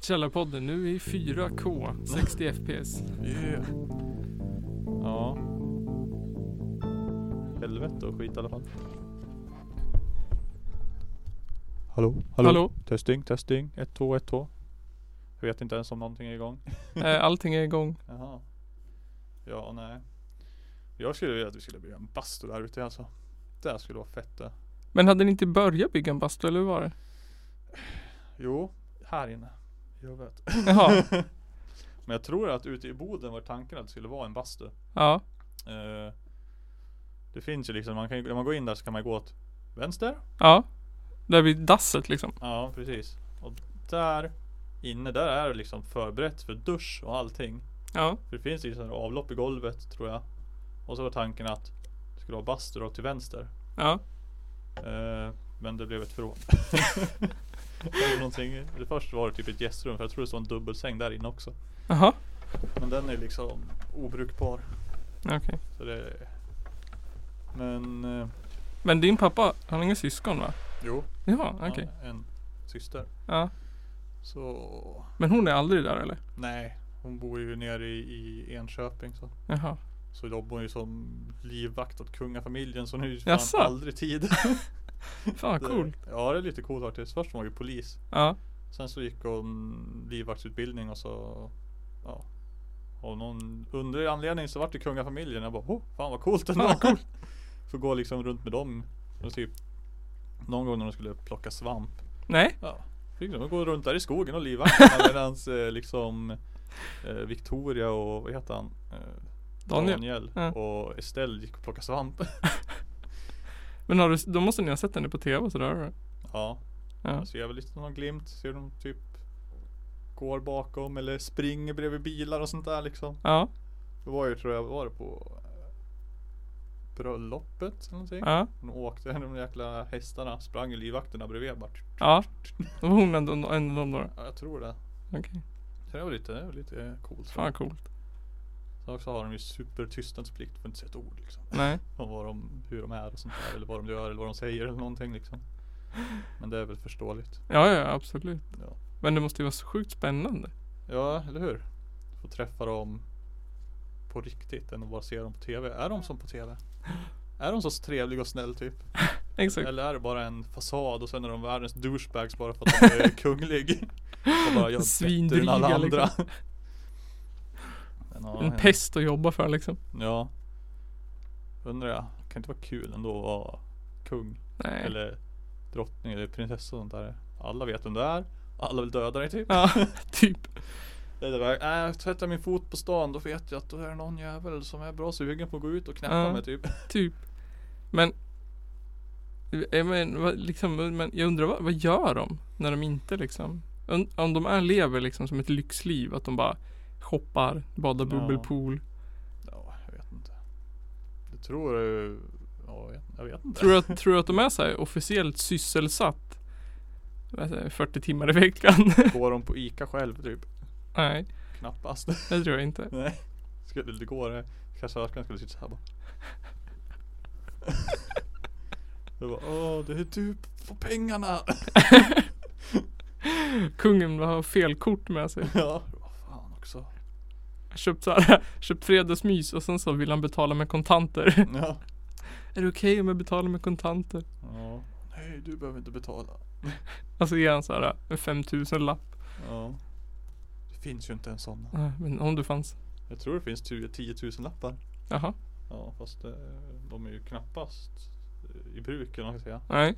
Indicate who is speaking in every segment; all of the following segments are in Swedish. Speaker 1: Källarpodden nu i 4K 60 FPS.
Speaker 2: Yeah. Ja. Helvete och skit i alla fall. Hallå, hallå,
Speaker 1: Hallå?
Speaker 2: Testing, testing. 1, 2, 1, 2. Jag vet inte ens om någonting är igång.
Speaker 1: Eh, Allting är igång.
Speaker 2: Jaha. Ja, nej. Jag skulle vilja att vi skulle bygga en bastu där ute alltså. Det här skulle vara fett det.
Speaker 1: Men hade ni inte börjat bygga en bastu eller hur var det?
Speaker 2: Jo, här inne. Jag vet.
Speaker 1: Jaha.
Speaker 2: Men jag tror att ute i Boden var tanken att det skulle vara en bastu.
Speaker 1: Ja.
Speaker 2: Eh, det finns ju liksom, man kan, ju- när man går in där så kan man gå åt vänster.
Speaker 1: Ja. Där vid dasset liksom.
Speaker 2: Ja, precis. Och där inne, där är det liksom förberett för dusch och allting.
Speaker 1: Ja.
Speaker 2: För det finns liksom avlopp i golvet tror jag. Och så var tanken att det skulle vara bastu då till vänster.
Speaker 1: Ja.
Speaker 2: Eh, men det blev ett förråd. Det var någonting, det först var det typ ett gästrum för jag tror det stod en dubbelsäng där inne också.
Speaker 1: Jaha.
Speaker 2: Men den är liksom obrukbar.
Speaker 1: Okej.
Speaker 2: Så det Men eh,
Speaker 1: Men din pappa, han har inga syskon va?
Speaker 2: jo,
Speaker 1: Ja,
Speaker 2: han
Speaker 1: okej.
Speaker 2: har en syster.
Speaker 1: Ja.
Speaker 2: Så
Speaker 1: Men hon är aldrig där eller?
Speaker 2: nej, hon bor ju nere i, i Enköping så.
Speaker 1: Jaha.
Speaker 2: Så jobbar hon ju som livvakt åt kungafamiljen så nu är det ju
Speaker 1: Jaså?
Speaker 2: fan aldrig tid.
Speaker 1: Fan vad
Speaker 2: Det-
Speaker 1: cool.
Speaker 2: Ja det är lite coolt faktiskt. Först var hon ju polis.
Speaker 1: Ja.
Speaker 2: Sen så gick hon livvaktsutbildning och så ja. Av någon underlig anledning så vart det kungafamiljen. Jag bara oh, fan vad coolt ändå.
Speaker 1: Fan vad coolt.
Speaker 2: Får gå liksom runt med dem. Och typ någon gång när de skulle plocka svamp.
Speaker 1: Nej.
Speaker 2: Ja. Fick de gå runt där i skogen och livvakta medans eh, liksom eh, Victoria och vad heter han? Eh,
Speaker 1: Daniel. Ja.
Speaker 2: och Estelle gick och plockade svamp.
Speaker 1: Men har du, då måste ni ha sett henne på tv och sådär? eller?
Speaker 2: Ja,
Speaker 1: Ja.
Speaker 2: jag ser väl lite någon glimt. Ser de typ går bakom eller springer bredvid bilar och sånt där liksom.
Speaker 1: Ja.
Speaker 2: Det var ju tror jag var det på eh, bröllopet eller någonting.
Speaker 1: Ja.
Speaker 2: De åkte, de jäkla hästarna sprang i livvakterna bredvid bara.
Speaker 1: Ja. Då var hon ändå en av dem då.
Speaker 2: Ja, jag tror det.
Speaker 1: Okej.
Speaker 2: Så det var lite, det var lite eh, coolt.
Speaker 1: Fan vad coolt.
Speaker 2: Sen också har de ju supertystnadsplikt, får inte säga ett ord liksom.
Speaker 1: Nej.
Speaker 2: Om vad de, hur de är och sånt där eller vad de gör eller vad de säger eller någonting liksom. Men det är väl förståeligt.
Speaker 1: Ja, ja, absolut.
Speaker 2: Ja.
Speaker 1: Men det måste ju vara så sjukt spännande.
Speaker 2: Ja, eller hur? Få träffa dem på riktigt än att bara se dem på TV. Är de som på TV? Är de så trevliga och snäll typ?
Speaker 1: Exakt.
Speaker 2: Eller är det bara en fasad och sen är de världens douchebags bara för att de är kunglig? Och bara jag är bättre än
Speaker 1: Svindryga,
Speaker 2: alla andra.
Speaker 1: liksom.
Speaker 2: Men ja,
Speaker 1: En
Speaker 2: ja.
Speaker 1: pest att jobba för liksom.
Speaker 2: Ja. Undrar jag, kan inte vara kul ändå att vara kung?
Speaker 1: Nej.
Speaker 2: Eller drottning eller prinsessa och sånt där. Alla vet vem du är. Alla vill döda dig typ.
Speaker 1: Ja, typ.
Speaker 2: Det är det väl. Äh, jag tvättar min fot på stan då vet jag att då är det någon jävel som är bra sugen på att gå ut och knäppa
Speaker 1: Ja.
Speaker 2: mig typ.
Speaker 1: Typ. Men. eh, Men, vad- liksom, men jag undrar vad, vad gör de? När de inte liksom. Om, om de är lever liksom som ett lyxliv. Att de bara shoppar, badar
Speaker 2: Ja.
Speaker 1: bubbelpool.
Speaker 2: Ja, jag vet inte. Jag tror eh, Ja, jag vet, jag vet inte.
Speaker 1: Tror du att, tror du att de är så här officiellt sysselsatt? Vad säger jag, 40 timmar i veckan?
Speaker 2: Går de på Ica själv typ?
Speaker 1: Nej,
Speaker 2: Knappast.
Speaker 1: det tror jag inte.
Speaker 2: Nej. Skulle det gå det? Kassörskan skulle sitta såhär bara. Det var åh det är du på pengarna.
Speaker 1: Kungen har fel kort med sig.
Speaker 2: Ja. Vad fan också.
Speaker 1: Köpt, så här, köpt fredagsmys och sen så vill han betala med kontanter.
Speaker 2: Ja.
Speaker 1: Är det okej om jag betalar med kontanter?
Speaker 2: ja. Nej du behöver inte betala.
Speaker 1: Alltså ger han så här en 5000 lapp.
Speaker 2: Ja. Det finns ju inte en sån.
Speaker 1: Nej, Men om du fanns.
Speaker 2: Jag tror det finns 10 000 lappar.
Speaker 1: Jaha.
Speaker 2: Ja fast eh, de är ju knappast eh, i bruk eller vad man ska säga.
Speaker 1: Nej.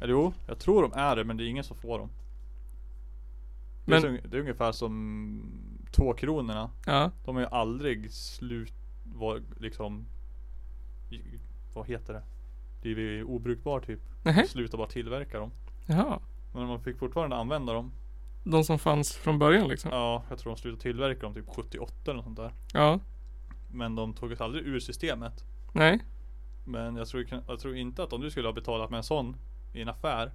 Speaker 2: Eller jo, jag tror de är det men det är ingen som får dem.
Speaker 1: Men-
Speaker 2: Det, är, så- det är ungefär som tvåkronorna.
Speaker 1: Ja.
Speaker 2: De har ju aldrig slut, var, liksom, i- vad heter det? Det är ju obrukbar typ.
Speaker 1: Nähä.
Speaker 2: Sluta bara tillverka dem.
Speaker 1: Jaha.
Speaker 2: Men man fick fortfarande använda dem.
Speaker 1: De som fanns från början liksom.
Speaker 2: Ja, jag tror de slutade tillverka dem typ 78 eller sånt där.
Speaker 1: Ja.
Speaker 2: Men de togs aldrig ur systemet.
Speaker 1: Nej.
Speaker 2: Men jag tror, kn- jag tror inte att om du skulle ha betalat med en sån i en affär.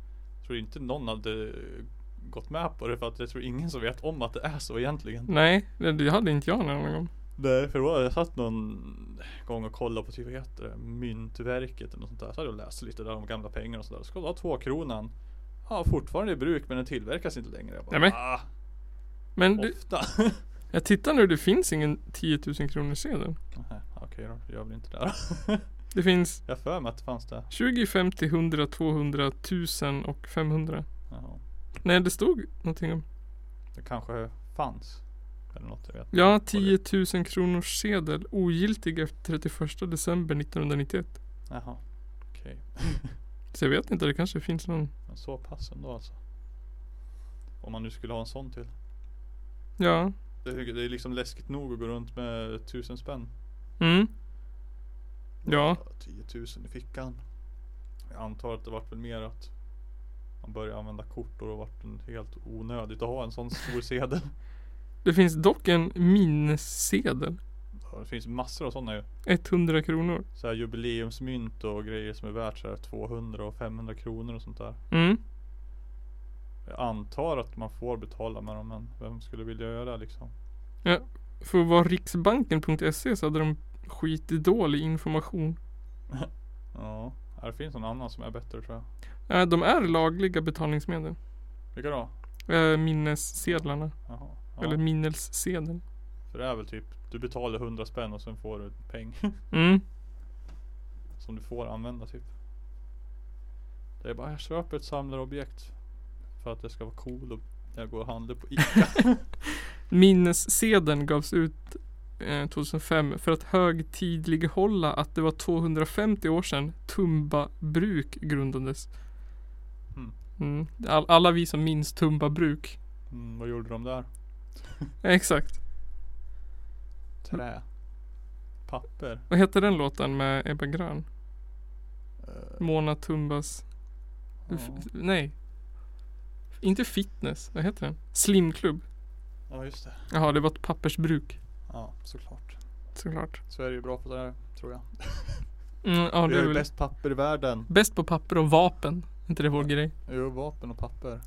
Speaker 2: Tror inte någon hade gått med på det för att jag tror ingen som vet om att det är så egentligen.
Speaker 1: Nej. Det, det hade inte jag någon gång.
Speaker 2: Nej, för då hade jag satt någon gång och kollade på typ, vad heter det, Myntverket eller något sånt där. Så hade jag läst lite där om gamla pengar och sådär. Ska du ha tvåkronan? Ja, fortfarande i bruk men den tillverkas inte längre. Jag bara,
Speaker 1: Nämen.
Speaker 2: ah,
Speaker 1: Men du,
Speaker 2: Ofta.
Speaker 1: jag tittar nu, det finns ingen 10 000 kronor sedel.
Speaker 2: Nej, Okej då, gör väl inte det.
Speaker 1: Det finns
Speaker 2: Jag har för mig att det fanns det.
Speaker 1: 20, 50, 100, 200, 1000 och 500.
Speaker 2: Jaha.
Speaker 1: Nej, det stod någonting om.
Speaker 2: Det kanske fanns. Eller något, jag vet inte.
Speaker 1: Ja, 10 000 kronors sedel ogiltig efter 31 december 1991.
Speaker 2: Jaha. Okej.
Speaker 1: Så jag vet inte, det kanske finns någon.
Speaker 2: Men så pass ändå alltså. Om man nu skulle ha en sån till.
Speaker 1: Ja.
Speaker 2: Det är, det är liksom läskigt nog att gå runt med tusen spänn.
Speaker 1: Mm. Ja.
Speaker 2: 10 000 i fickan. Jag antar att det vart väl mer att man började använda kort och då vart det helt onödigt att ha en sån stor sedel.
Speaker 1: Det finns dock en minnessedel.
Speaker 2: Ja, Det finns massor av sådana ju.
Speaker 1: 100 kronor.
Speaker 2: Så här jubileumsmynt och grejer som är värt så här 200 och 500 kronor och sånt där.
Speaker 1: Mm.
Speaker 2: Jag antar att man får betala med dem men vem skulle vilja göra det liksom?
Speaker 1: För att vara riksbanken.se så hade de skitdålig information.
Speaker 2: Ja, här finns någon annan som är bättre tror jag.
Speaker 1: Äh, de är lagliga betalningsmedel.
Speaker 2: Vilka då?
Speaker 1: Äh, minnessedlarna.
Speaker 2: Jaha.
Speaker 1: Eller
Speaker 2: Ja,
Speaker 1: minnelssedeln.
Speaker 2: för det är väl typ, du betalar 100 spänn och sen får du en peng
Speaker 1: Mm.
Speaker 2: som du får använda typ. Det är bara, jag köper ett samlarobjekt för att det ska vara cool och jag går och handlar på ICA.
Speaker 1: Minnessedeln gavs ut eh, 2005 för att högtidlighålla att det var 250 år sedan Tumba bruk grundades.
Speaker 2: Mm.
Speaker 1: Mm. All, alla vi som minns Tumba bruk.
Speaker 2: Mm, vad gjorde de där?
Speaker 1: Eh, Exakt.
Speaker 2: Trä. Papper.
Speaker 1: Vad heter den låten med Ebba Grön?
Speaker 2: Eh,
Speaker 1: Mona Tumbas...
Speaker 2: ja.
Speaker 1: F- nej. Inte fitness. Vad heter den? Slimklubb.
Speaker 2: Ja just det.
Speaker 1: Jaha, det var ett pappersbruk.
Speaker 2: Ja såklart.
Speaker 1: Såklart.
Speaker 2: Sverige är bra på det här tror jag.
Speaker 1: Mm, ja, det är
Speaker 2: Vi har ju
Speaker 1: väl
Speaker 2: bäst papper i världen.
Speaker 1: bäst på papper och vapen. inte det vår grej?
Speaker 2: Jo, vapen och papper.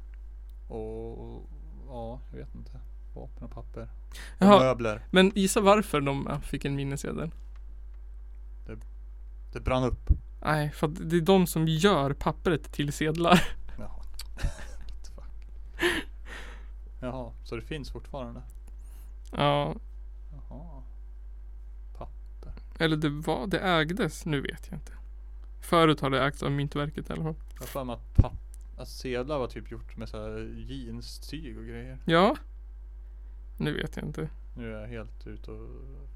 Speaker 2: Och ja, jag vet inte. Vapen och papper. Och
Speaker 1: Jaha,
Speaker 2: möbler.
Speaker 1: men gissa varför de ja, fick en minnessedel?
Speaker 2: Det brann upp.
Speaker 1: Nej, för att det är de som gör pappret till sedlar.
Speaker 2: Jaha. What the fuck. Jaha, så det finns fortfarande?
Speaker 1: Ja,
Speaker 2: Jaha.
Speaker 1: eller det var, det ägdes. Nu vet jag inte. Förut har det ägts av Myntverket i alla fall.
Speaker 2: Jag har för mig att, papp- att sedlar var typ gjort med så här jeans-tyg och grejer.
Speaker 1: Ja. Nu vet jag inte.
Speaker 2: Nu är jag helt ute och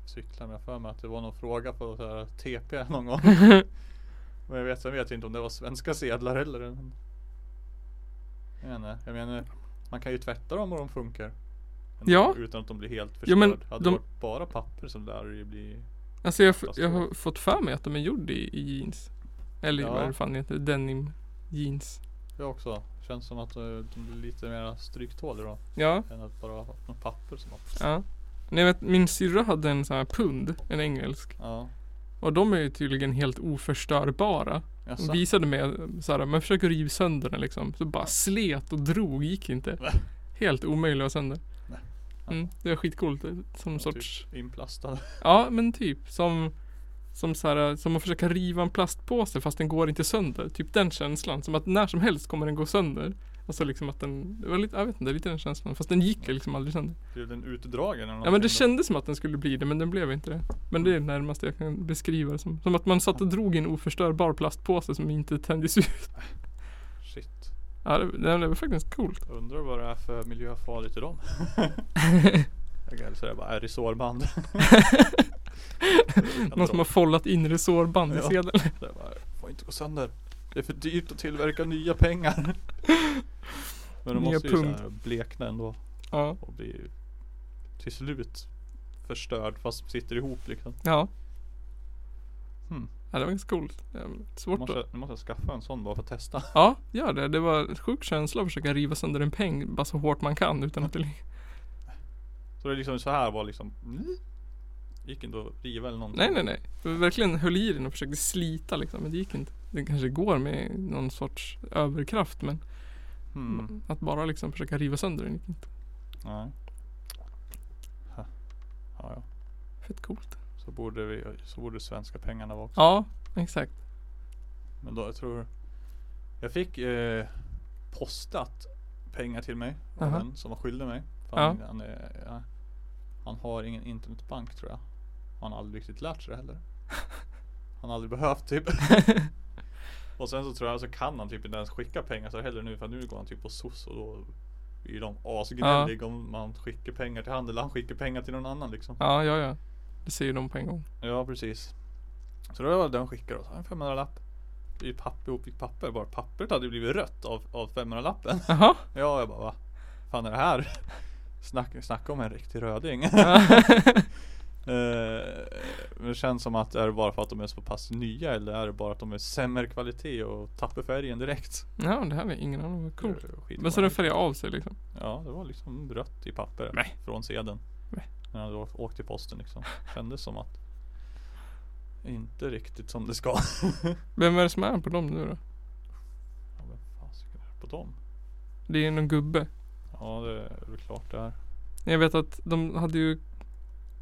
Speaker 2: cyklar men jag har för mig att det var någon fråga på så här TP någon gång. Men jag vet, jag vet inte om det var svenska sedlar heller. Men... Jag menar, jag menar, man kan ju tvätta dem och de funkar. Ändå,
Speaker 1: Ja.
Speaker 2: Utan att de blir helt förstörda.
Speaker 1: Ja, men
Speaker 2: Hade
Speaker 1: de-
Speaker 2: det varit bara papper så lär det ju bli
Speaker 1: Alltså jag, f- jag
Speaker 2: Katastrof.
Speaker 1: har fått för mig att de är gjorda i, i jeans. Eller
Speaker 2: Ja.
Speaker 1: vad det fan heter, denim jeans.
Speaker 2: Jag också. Känns som att eh, de blir lite mer stryktål idag.
Speaker 1: Ja,
Speaker 2: Än att bara ha något papper som har...
Speaker 1: ja. Nej, vet, min syrra hade en sån här pund, en engelsk.
Speaker 2: Ja.
Speaker 1: Och de är ju tydligen helt oförstörbara.
Speaker 2: Jaså?
Speaker 1: Hon visade mig såhär, man försöker riva sönder den liksom. Så bara slet och drog, gick inte.
Speaker 2: Va?
Speaker 1: Helt omöjligt att ha sönder.
Speaker 2: Nej.
Speaker 1: Mm, det var skitcoolt. Som
Speaker 2: Ja,
Speaker 1: sorts,
Speaker 2: Inplastad.
Speaker 1: ja men typ som som så här, som att försöka riva en plastpåse fast den går inte sönder. Typ den känslan. Som att när som helst kommer den gå sönder. Alltså liksom att den, det var lite, jag vet inte, lite den känslan. Fast den gick liksom aldrig sönder.
Speaker 2: Blev den utdragen eller
Speaker 1: Ja men det
Speaker 2: någonting
Speaker 1: kändes som att den skulle bli det men den blev inte det. Men det är det närmaste jag kan beskriva det som. Som att man satt och drog i en oförstörbar plastpåse som inte tändes ut.
Speaker 2: då? Shit.
Speaker 1: Ja det, det var faktiskt coolt.
Speaker 2: Jag undrar vad det är för miljöfarligt i dem. jag kan säga bara är resårband.
Speaker 1: Någon som har follat inre sårband i
Speaker 2: Ja.
Speaker 1: sedeln.
Speaker 2: Det bara, får inte gå sönder. Det är för dyrt att tillverka nya pengar. Men de
Speaker 1: Nya
Speaker 2: måste ju så
Speaker 1: pund.
Speaker 2: här blekna ändå
Speaker 1: Ja.
Speaker 2: och bli till slut förstörd fast sitter ihop liksom.
Speaker 1: Ja.
Speaker 2: Hmm.
Speaker 1: ja det var ganska coolt. Ja,
Speaker 2: Nu
Speaker 1: Svårt
Speaker 2: måste,
Speaker 1: att...
Speaker 2: jag- nu måste jag skaffa en sån bara för att testa.
Speaker 1: Ja, gör det. Det var en sjuk känsla att försöka riva sönder en peng bara så hårt man kan utan att det ligger.
Speaker 2: Så det är liksom så här var liksom. Gick inte att riva eller någonting.
Speaker 1: Nej, nej, nej. Jag verkligen höll i den och försökte slita liksom, men det gick inte. Det kanske går med någon sorts överkraft, men
Speaker 2: Hmm.
Speaker 1: att bara liksom försöka riva sönder den gick inte.
Speaker 2: Nej. Ha. Ja, ja.
Speaker 1: Fett coolt.
Speaker 2: Så borde vi, så borde svenska pengarna vara också.
Speaker 1: Ja, exakt.
Speaker 2: Men då, jag tror Jag fick eh, postat pengar till mig av
Speaker 1: Aha.
Speaker 2: en som var skyldig mig. För
Speaker 1: Ja.
Speaker 2: han, han, är, ja, han har ingen internetbank tror jag. Han har aldrig riktigt lärt sig det heller. Han har aldrig behövt typ. och sen så tror jag så kan han typ inte ens skicka pengar så heller nu för nu går han typ på SOS och då är ju de asgnälliga om man skickar pengar till han eller han skickar pengar till någon annan liksom.
Speaker 1: Ja, ja, ja. Det ser ju de på en gång.
Speaker 2: Ja precis. Så det var den skickade då, så här, en 500 lapp. I papper ihop i papper, bara pappret hade ju blivit rött av, av 500 lappen.
Speaker 1: Jaha.
Speaker 2: Ja, jag bara va? Fan är det här? Snack, snacka om en riktig röding. Eh, Men det känns som att är det bara för att de är så pass nya eller är det bara att de är sämre kvalitet och tappar färgen direkt?
Speaker 1: ja, det här är ingen aning. Vad coolt.
Speaker 2: Det är skit-
Speaker 1: Men så den färgar av sig liksom.
Speaker 2: Ja, det var liksom rött i papper
Speaker 1: Nej.
Speaker 2: från sedeln.
Speaker 1: Nej.
Speaker 2: När han då åkte till posten liksom. Kändes som att inte riktigt som det ska.
Speaker 1: Vem är det som är på dem nu då?
Speaker 2: Ja, men fasiken är det på dem?
Speaker 1: Det är någon gubbe.
Speaker 2: Ja, det är väl klart det är.
Speaker 1: Jag vet att de hade ju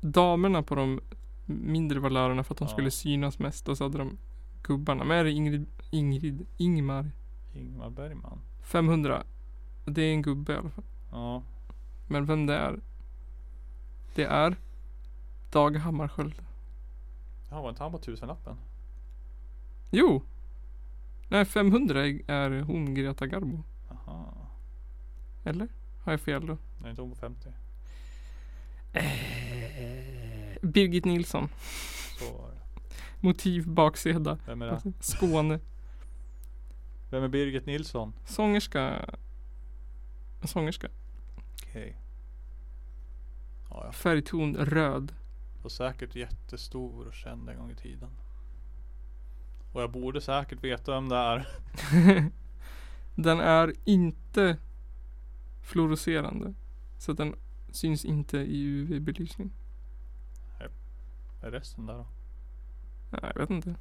Speaker 1: damerna på de mindre valörerna för att de
Speaker 2: Ja.
Speaker 1: skulle synas mest och så hade de gubbarna. Men är det Ingrid, Ingrid, Ingmar?
Speaker 2: Ingmar Bergman.
Speaker 1: 500. Det är en gubbe i alla fall.
Speaker 2: Ja,
Speaker 1: Men vem det är? Det är Dag Hammarskjöld.
Speaker 2: han var inte han på tusenlappen?
Speaker 1: Jo! Nej, 500 är- är hon Greta Garbo.
Speaker 2: Aha.
Speaker 1: Eller? Har jag fel då?
Speaker 2: Nej, inte hon på 50.
Speaker 1: Birgit Nilsson.
Speaker 2: Så var det.
Speaker 1: Motiv baksida.
Speaker 2: Vem är det?
Speaker 1: Skåne.
Speaker 2: Vem är Birgit Nilsson?
Speaker 1: Sångerska. Sångerska.
Speaker 2: Okej. Ja, ja.
Speaker 1: Färgton röd.
Speaker 2: Var säkert jättestor och känd en gång i tiden. Och jag borde säkert veta vem det är.
Speaker 1: Den är inte fluorescerande. Så att den syns inte i UV-belysning.
Speaker 2: Är resten där då?
Speaker 1: Nej, jag vet inte.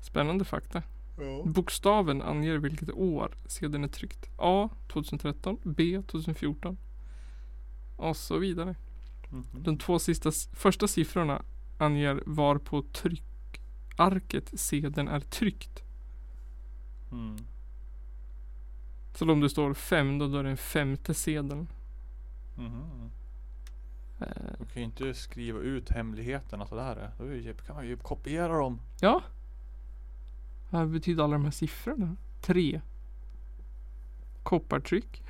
Speaker 1: Spännande fakta.
Speaker 2: Ja.
Speaker 1: Bokstaven anger vilket år sedeln är tryckt. A 2013, B 2014 och så vidare.
Speaker 2: Mhm.
Speaker 1: De två sista, s- första siffrorna anger var på tryckarket sedeln är tryckt.
Speaker 2: Mm.
Speaker 1: Så om det står 5 då, då är det den femte sedeln.
Speaker 2: Mhm.
Speaker 1: Eh,
Speaker 2: Du kan ju inte skriva ut hemligheterna sådär. eh. Då är ju- kan man ju kopiera dem.
Speaker 1: ja. Vad betyder alla de här siffrorna? 3. Koppartryck.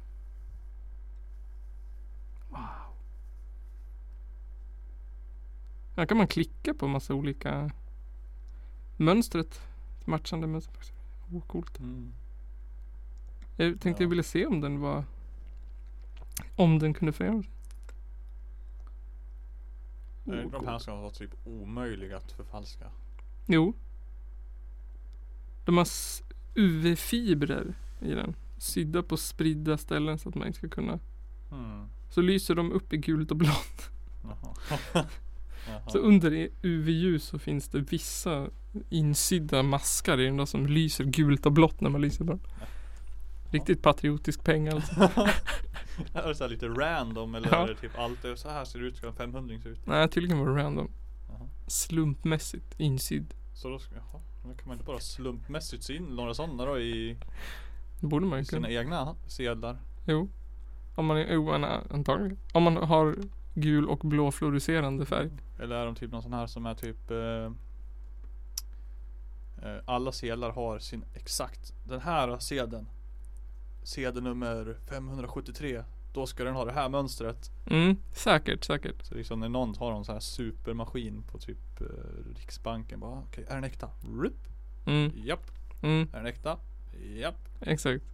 Speaker 1: Wow. Här kan man klicka på massa olika mönstret. Matchande mönster. Åh, coolt.
Speaker 2: Mm.
Speaker 1: Jag tänkte
Speaker 2: Ja.
Speaker 1: jag ville se om den var Om den kunde förändra sig.
Speaker 2: Är det inte
Speaker 1: Oh,
Speaker 2: de här
Speaker 1: cool.
Speaker 2: som har varit typ omöjliga att förfalska?
Speaker 1: Jo De har s- UV-fibrer i den Sydda på spridda ställen så att man inte ska kunna
Speaker 2: Mm.
Speaker 1: Så lyser de upp i gult och blått
Speaker 2: Jaha.
Speaker 1: Så
Speaker 2: Jaha.
Speaker 1: under i UV-ljus så finns det vissa Insydda maskar i den där som lyser gult och blått när man lyser på den Riktigt patriotisk peng alltså
Speaker 2: Är det så här lite random eller
Speaker 1: Ja.
Speaker 2: är det typ allt det så här ser det ut, ska en 500 se ut?
Speaker 1: Nej tydligen var det random
Speaker 2: Jaha.
Speaker 1: Slumpmässigt insydd
Speaker 2: Så då ska, jaha, men kan man inte bara slumpmässigt se in några sådana då i
Speaker 1: Det borde man ju kunna
Speaker 2: sina egna sedlar?
Speaker 1: Jo. Om man är oen antagligen. Om man har gul och blå fluorescerande färg.
Speaker 2: Eller är de typ någon sån här som är typ eh, eh, Alla sedlar har sin exakt Den här sedeln Sedel nummer 573 Då ska den ha det här mönstret
Speaker 1: Mm, säkert, säkert.
Speaker 2: Så liksom när någon har en sån här supermaskin på typ eh, Riksbanken bara okej är den äkta? Rup.
Speaker 1: Mm,
Speaker 2: Japp
Speaker 1: mm,
Speaker 2: Är den äkta? Japp
Speaker 1: exakt.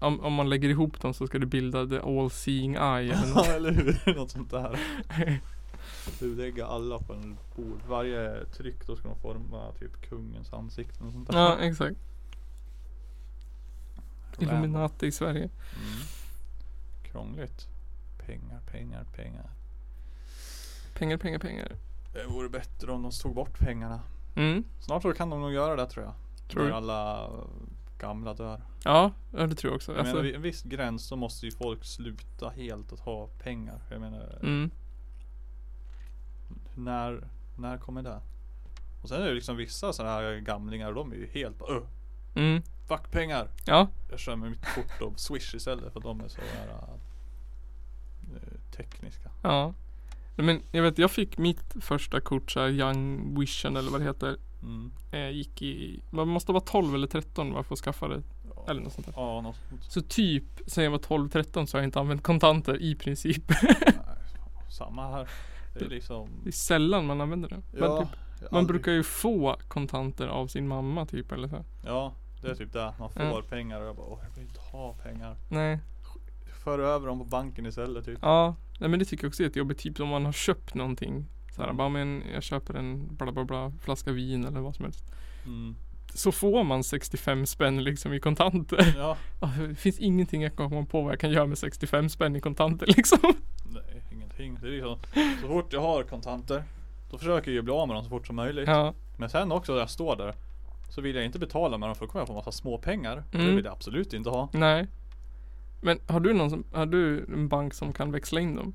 Speaker 1: Om, om man lägger ihop dem så ska det bilda the all seeing eye. eller
Speaker 2: Ja
Speaker 1: något.
Speaker 2: eller hur? Något sånt där Du lägger alla på en bord Varje tryck då ska de forma typ kungens ansikte och sånt där
Speaker 1: ja, exakt.
Speaker 2: Random.
Speaker 1: Illuminati i Sverige.
Speaker 2: Mm. Krångligt. Pengar, pengar, pengar.
Speaker 1: Pengar, pengar, pengar.
Speaker 2: Det vore bättre om de tog bort pengarna.
Speaker 1: Mm,
Speaker 2: Snart så kan de nog göra det tror jag.
Speaker 1: Tror
Speaker 2: När
Speaker 1: du?
Speaker 2: alla eh, gamla dör.
Speaker 1: ja, ja, det tror jag också.
Speaker 2: Jag menar
Speaker 1: Alltså,
Speaker 2: vid en viss gräns så måste ju folk sluta helt att ha pengar. Jag menar,
Speaker 1: mm,
Speaker 2: när, när kommer det? Och sen är det liksom vissa sådana här gamlingar, de är ju helt bara "Öh,
Speaker 1: mm.
Speaker 2: Fuck pengar!
Speaker 1: Ja,
Speaker 2: Jag kör med mitt kort och swish istället för de är så här eh, tekniska.
Speaker 1: ja. Nej, Men jag vet, jag fick mitt första kort så här, Young Vision eller vad det heter.
Speaker 2: Mm.
Speaker 1: Eh, gick i, man måste vara 12 eller 13 va, för att skaffa det.
Speaker 2: Ja.
Speaker 1: Eller något sånt där.
Speaker 2: Ja, något sånt.
Speaker 1: Så typ sen jag var 12-13 så har jag inte använt kontanter i princip.
Speaker 2: Nej, Samma här. Det är liksom.
Speaker 1: Det är sällan man använder det. Men
Speaker 2: Ja,
Speaker 1: typ,
Speaker 2: jag
Speaker 1: man
Speaker 2: aldrig-
Speaker 1: brukar ju få kontanter av sin mamma typ eller så.
Speaker 2: Ja, det är typ det. Man får
Speaker 1: Ja.
Speaker 2: pengar och jag bara, åh jag vill inte ha pengar.
Speaker 1: Nej.
Speaker 2: För över dem på banken istället typ.
Speaker 1: Ja, nej men det tycker jag också är ett jobbigt typ om man har köpt någonting. Så här, bara men jag köper en bla bla bla flaska vin eller vad som helst.
Speaker 2: Mm.
Speaker 1: Så får man 65 spänn liksom i kontanter.
Speaker 2: Ja,
Speaker 1: Ja, Det finns ingenting jag kan komma på vad jag kan göra med 65 spänn i kontanter liksom.
Speaker 2: nej ingenting. Det är liksom, så fort jag har kontanter. Då försöker jag ju bli av med dem så fort som möjligt.
Speaker 1: Ja,
Speaker 2: Men sen också när jag står där. Så vill jag inte betala med dem för då kommer jag få massa små pengar. och Det
Speaker 1: Mm.
Speaker 2: vill jag absolut inte ha.
Speaker 1: nej. Men har du någon som, har du en bank som kan växla in dem?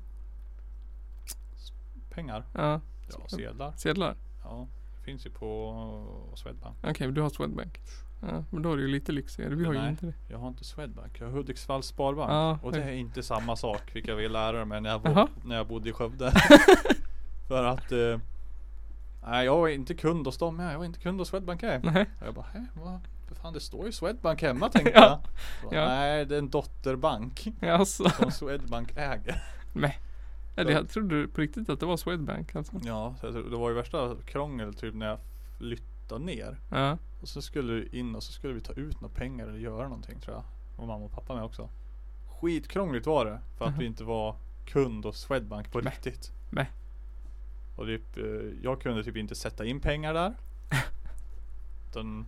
Speaker 2: Pengar.
Speaker 1: Ja,
Speaker 2: Ja, sedlar.
Speaker 1: sedlar?
Speaker 2: Ja, det finns ju på Swedbank.
Speaker 1: Okej, du har Swedbank. Ja, men då är det ju lite lyxigare. Vi har ju
Speaker 2: Nej.
Speaker 1: inte det.
Speaker 2: Jag har inte Swedbank, jag har Hudiksvalls Sparbank.
Speaker 1: Ja,
Speaker 2: och det
Speaker 1: hur-
Speaker 2: är inte samma sak, vilket jag vill lära mig när jag, bo-
Speaker 1: Jaha.
Speaker 2: när jag bodde i Skövde. För att eh, Nej jag var inte kund hos dem, jag var inte kund hos Swedbank här.
Speaker 1: Nej,
Speaker 2: Och jag bara, hä, vad? För fan det står ju Swedbank hemma tänkte
Speaker 1: Ja.
Speaker 2: jag. Så,
Speaker 1: Ja.
Speaker 2: Nej det är en dotterbank
Speaker 1: alltså.
Speaker 2: som Swedbank äger.
Speaker 1: Eller jag trodde på riktigt att det var Swedbank alltså.
Speaker 2: Ja, så jag tror- det var ju värsta krångel typ när jag flyttade ner.
Speaker 1: Ja,
Speaker 2: Och så skulle vi in och så skulle vi ta ut några pengar eller göra någonting tror jag. Och mamma och pappa med också. Skitkrångligt var det. För att
Speaker 1: Mhm.
Speaker 2: vi inte var kund hos Swedbank på
Speaker 1: Nej.
Speaker 2: riktigt.
Speaker 1: Nej.
Speaker 2: Och typ, eh, jag kunde typ inte sätta in pengar där. Utan,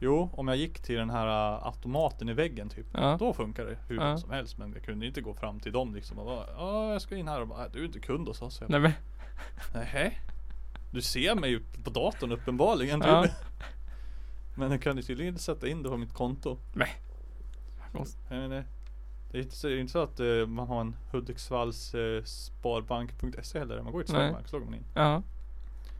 Speaker 2: jo, om jag gick till den här eh, automaten i väggen typ.
Speaker 1: ja.
Speaker 2: Då funkar det hur
Speaker 1: Ja.
Speaker 2: som helst. Men jag kunde inte gå fram till dem liksom och bara, ja jag ska in här och bara, "Nej, du är inte kund hos oss. Jag bara,
Speaker 1: Nej men.
Speaker 2: Nähä? Du ser mig ju på datorn uppenbarligen.
Speaker 1: Ja.
Speaker 2: du. Men jag kunde tydligen inte sätta in det på mitt konto.
Speaker 1: Nej. Konstigt.
Speaker 2: Nej, nej, nej. Det är inte så, det är inte så att eh, man har en Hudiksvalls eh, sparbank.se heller. Man går ju till
Speaker 1: Nej.
Speaker 2: Swedbank så loggar man in.
Speaker 1: Ja.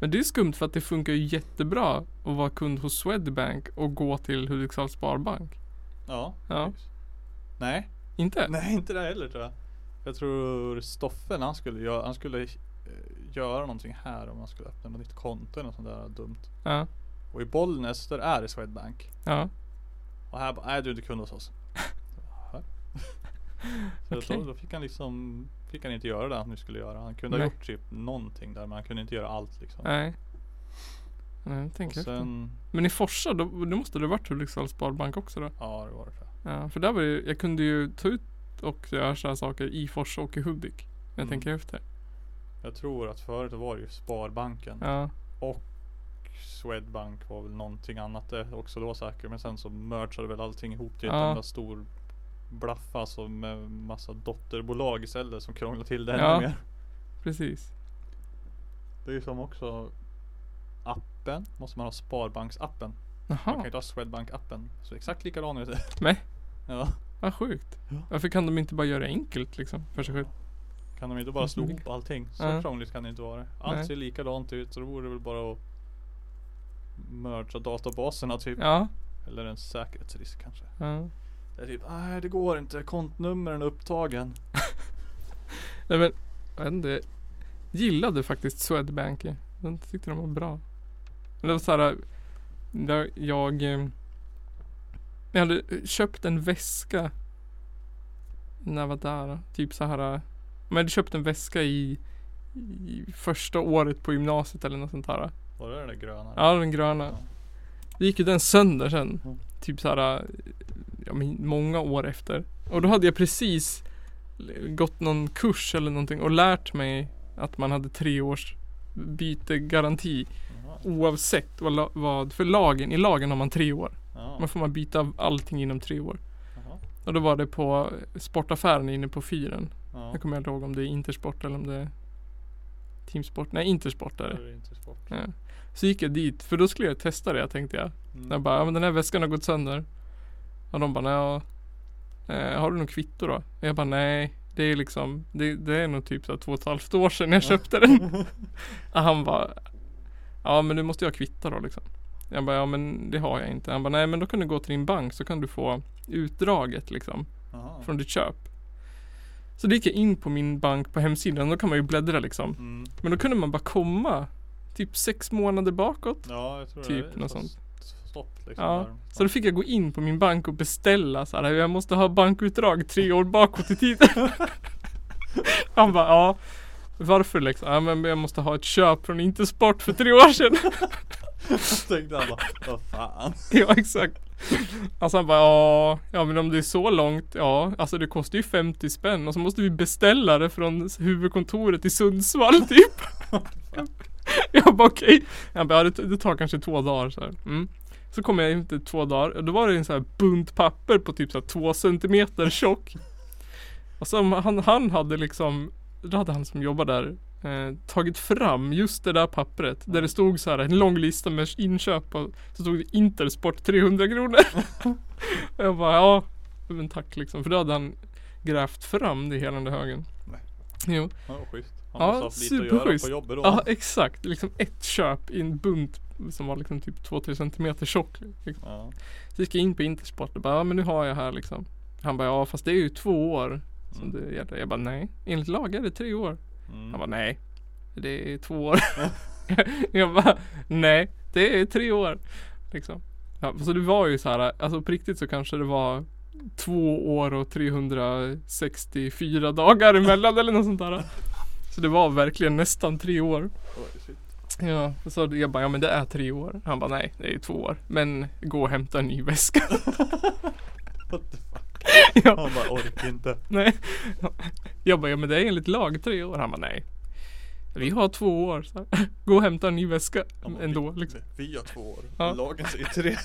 Speaker 1: Men det är skumt för att det funkar ju jättebra att vara kund hos Swedbank och gå till Hudiksvalls Sparbank.
Speaker 2: Ja.
Speaker 1: Ja.
Speaker 2: precis. Nej.
Speaker 1: Inte?
Speaker 2: Nej, inte det heller tror jag. Jag tror Stoffen han skulle, göra, han skulle eh, göra någonting här om han skulle öppna något nytt konto eller något sånt där dumt.
Speaker 1: Ja.
Speaker 2: Och i Bollnäs där är det Swedbank.
Speaker 1: Ja.
Speaker 2: Och här bara, nej du är inte kund hos oss. Jaha. Så
Speaker 1: Okej.
Speaker 2: då, då fick han liksom, fick han inte göra det han nu skulle göra. Han kunde
Speaker 1: Nej.
Speaker 2: ha gjort typ någonting där men han kunde inte göra allt liksom.
Speaker 1: Nej. Nej, jag
Speaker 2: och
Speaker 1: tänker efter.
Speaker 2: sen,
Speaker 1: Men i Forsa, då, då måste det ha varit Hudiksvalls Sparbank också då?
Speaker 2: ja det var det tror jag.
Speaker 1: Ja, för där var det ju, jag kunde ju ta ut och göra sådana saker i Forsa och i Hudik. Jag
Speaker 2: Mm.
Speaker 1: tänker efter.
Speaker 2: Jag tror att förut var det ju Sparbanken.
Speaker 1: Ja.
Speaker 2: Swedbank var väl någonting annat det också då säkert. Men sen så mergade väl allting ihop till ett
Speaker 1: Ja.
Speaker 2: enda stor blaffa som med massa dotterbolag istället som krånglar till det
Speaker 1: Ja.
Speaker 2: ännu mer.
Speaker 1: Precis.
Speaker 2: Det är ju som också appen, måste man ha Sparbanksappen. Man kan ju
Speaker 1: Jaha,
Speaker 2: inte ha Swedbank appen. Så exakt likadan är det.
Speaker 1: Nej.
Speaker 2: Ja.
Speaker 1: vad sjukt.
Speaker 2: Ja.
Speaker 1: Varför kan de inte bara göra det enkelt liksom för sig själv?
Speaker 2: Kan de inte bara slå ihop allting? Så
Speaker 1: Ja.
Speaker 2: krångligt kan det inte vara. Allt
Speaker 1: Nej.
Speaker 2: ser likadant ut så då vore det väl bara att mergea databaserna typ.
Speaker 1: Ja.
Speaker 2: Eller en säkerhetsrisk kanske.
Speaker 1: ja.
Speaker 2: Det är typ, nej det går inte, kontnumren är upptagen.
Speaker 1: Nej men, jag vet inte. Jag gillade faktiskt Swedbank. Jag tyckte de var bra. Men det var så här. Jag, jag, eh, jag hade köpt en väska. När jag var där. Typ så här. eh, Men jag hade köpt en väska i, i första året på gymnasiet eller något sånt här.
Speaker 2: Var det den där gröna?
Speaker 1: Ja, den gröna. Då gick ju den sönder sen.
Speaker 2: Mm.
Speaker 1: Typ så här, ja, men många år efter. Och då hade jag precis gått någon kurs eller någonting och lärt mig att man hade tre års bytegaranti
Speaker 2: Jaha.
Speaker 1: oavsett vad, la- vad för lagen, i lagen har man tre år.
Speaker 2: Ja.
Speaker 1: Man får man byta allting inom tre år.
Speaker 2: Jaha.
Speaker 1: Och då var det på sportaffären inne på fyren.
Speaker 2: Ja.
Speaker 1: Jag kommer inte ihåg om det är Intersport eller om det är Teamsport. Nej, Intersport är
Speaker 2: Det
Speaker 1: det.
Speaker 2: är inte sport.
Speaker 1: Ja. Så gick jag dit, för då skulle jag testa det tänkte jag.
Speaker 2: Mm.
Speaker 1: Jag bara, ja men den här väskan har gått sönder. Och de bara, nej, ja, eh, har du något kvitto då? Och jag bara, nej, det är liksom, det, det är nog typ så här två och ett halvt år sedan jag köpte den. Och han bara, ja men du måste ju ha kvitto då liksom. Jag bara, ja men det har jag inte. Han bara, nej men då kan du gå till din bank så kan du få utdraget liksom
Speaker 2: Jaha.
Speaker 1: från ditt köp. Så då gick jag in på min bank på hemsidan, då kan man ju bläddra liksom.
Speaker 2: Mm.
Speaker 1: Men då kunde man bara komma typ sex månader bakåt.
Speaker 2: Ja, jag tror
Speaker 1: Typ
Speaker 2: det. är
Speaker 1: något
Speaker 2: så-
Speaker 1: sånt.
Speaker 2: s- Stopp liksom.
Speaker 1: Ja,
Speaker 2: där.
Speaker 1: Så då fick jag gå in på min bank och beställa så här, jag måste ha bankutdrag tre år bakåt i tiden. Han bara, ja. Varför liksom? Ja men jag måste ha ett köp från Intersport för tre år sedan.
Speaker 2: Så tänkte han bara, vad fan.
Speaker 1: ja exakt. Alltså han bara, ja, ja men om det är så långt, ja, alltså det kostar ju 50 spänn och så måste vi beställa det från huvudkontoret i Sundsvall typ. jag bara okej. Han bara, ja, det, det tar kanske två dagar så här. Mm. Så kom jag in till två dagar och då var det en sån här bunt papper på typ så här två centimeter tjock. Och som han, han hade liksom, då hade han som jobbar där eh, tagit fram just det där pappret där det stod så här en lång lista med inköp och så stod det Intersport 300 kronor. och jag bara ja, men tack liksom. För då hade han grävt fram det i hela den där högen.
Speaker 2: Nej.
Speaker 1: Jo.
Speaker 2: Ja, vad schysst. Han
Speaker 1: Ja,
Speaker 2: måste haft lite att göra
Speaker 1: superschysst.
Speaker 2: på jobbet då.
Speaker 1: Ja exakt, liksom ett köp i en bunt som var liksom typ 2-3 centimeter tjock. Liksom.
Speaker 2: Ja.
Speaker 1: Så gick jag in på Intersport och bara, ja men nu har jag här liksom. Han bara, ja fast det är ju två år som
Speaker 2: Mm.
Speaker 1: det gäller. Jag bara, nej. Enligt lag är det tre år.
Speaker 2: Mm.
Speaker 1: Han bara, nej. Det är två år. jag bara, nej. Det är tre år. Liksom. Ja, så det var ju så här, alltså på riktigt så kanske det var två år och 364 dagar emellan eller något sånt där. Så det var verkligen nästan tre år.
Speaker 2: Oj, shit.
Speaker 1: Ja, och så jag bara, ja men det är tre år. Han bara, nej det är två år. Men gå och hämta en ny väska.
Speaker 2: What the fuck.
Speaker 1: Ja.
Speaker 2: Han bara, orkar inte.
Speaker 1: Nej. Jag bara, ja men det är enligt lag tre år. Han bara, nej. Vi har två år. Så här. Gå och hämta en ny väska
Speaker 2: Han bara,
Speaker 1: ändå.
Speaker 2: vi,
Speaker 1: Liksom.
Speaker 2: vi har två år.
Speaker 1: Ja.
Speaker 2: Lagen säger tre.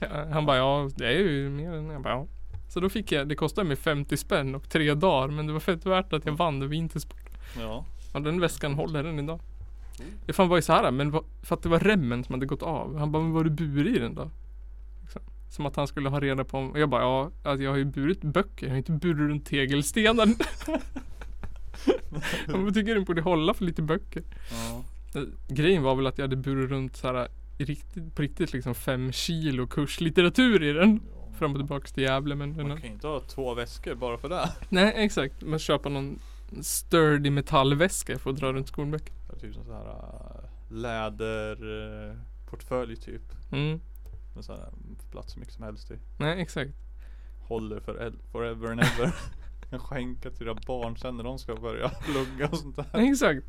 Speaker 1: Ja, Han bara, ja det är ju mer än. Jag bara, ja. Så då fick jag, det kostade mig 50 spänn och tre dagar. Men det var fett värt att jag vann över Intersport.
Speaker 2: Ja.
Speaker 1: Ja den väskan håller den idag. Det fan var ju så här, men vad- för att det var remmen som hade gått av. Han bara, men vad har du burit i den då? Liksom. Som att han skulle ha reda på om, och jag bara, ja alltså, jag har ju burit böcker, jag har inte burit runt tegelstenen. Jag tycker den borde hålla för lite böcker.
Speaker 2: Ja.
Speaker 1: Eh, Grejen var väl att jag hade burit runt så här i riktigt, på riktigt liksom fem kilo kurslitteratur i den. Fram och tillbaks till Gävle men den,
Speaker 2: Man kan ju inte ha två väskor bara för det.
Speaker 1: Nej exakt, man köpa någon sturdy metallväska för att dra runt skolböcker.
Speaker 2: Det är Typ som så här äh, läder äh, portfölj typ.
Speaker 1: Mm.
Speaker 2: Med så här äh, plats hur mycket som helst i.
Speaker 1: Nej exakt.
Speaker 2: Håller för el- forever and ever. Kan skänka till dina barn sen när de ska börja plugga och sånt där.
Speaker 1: Nej, exakt.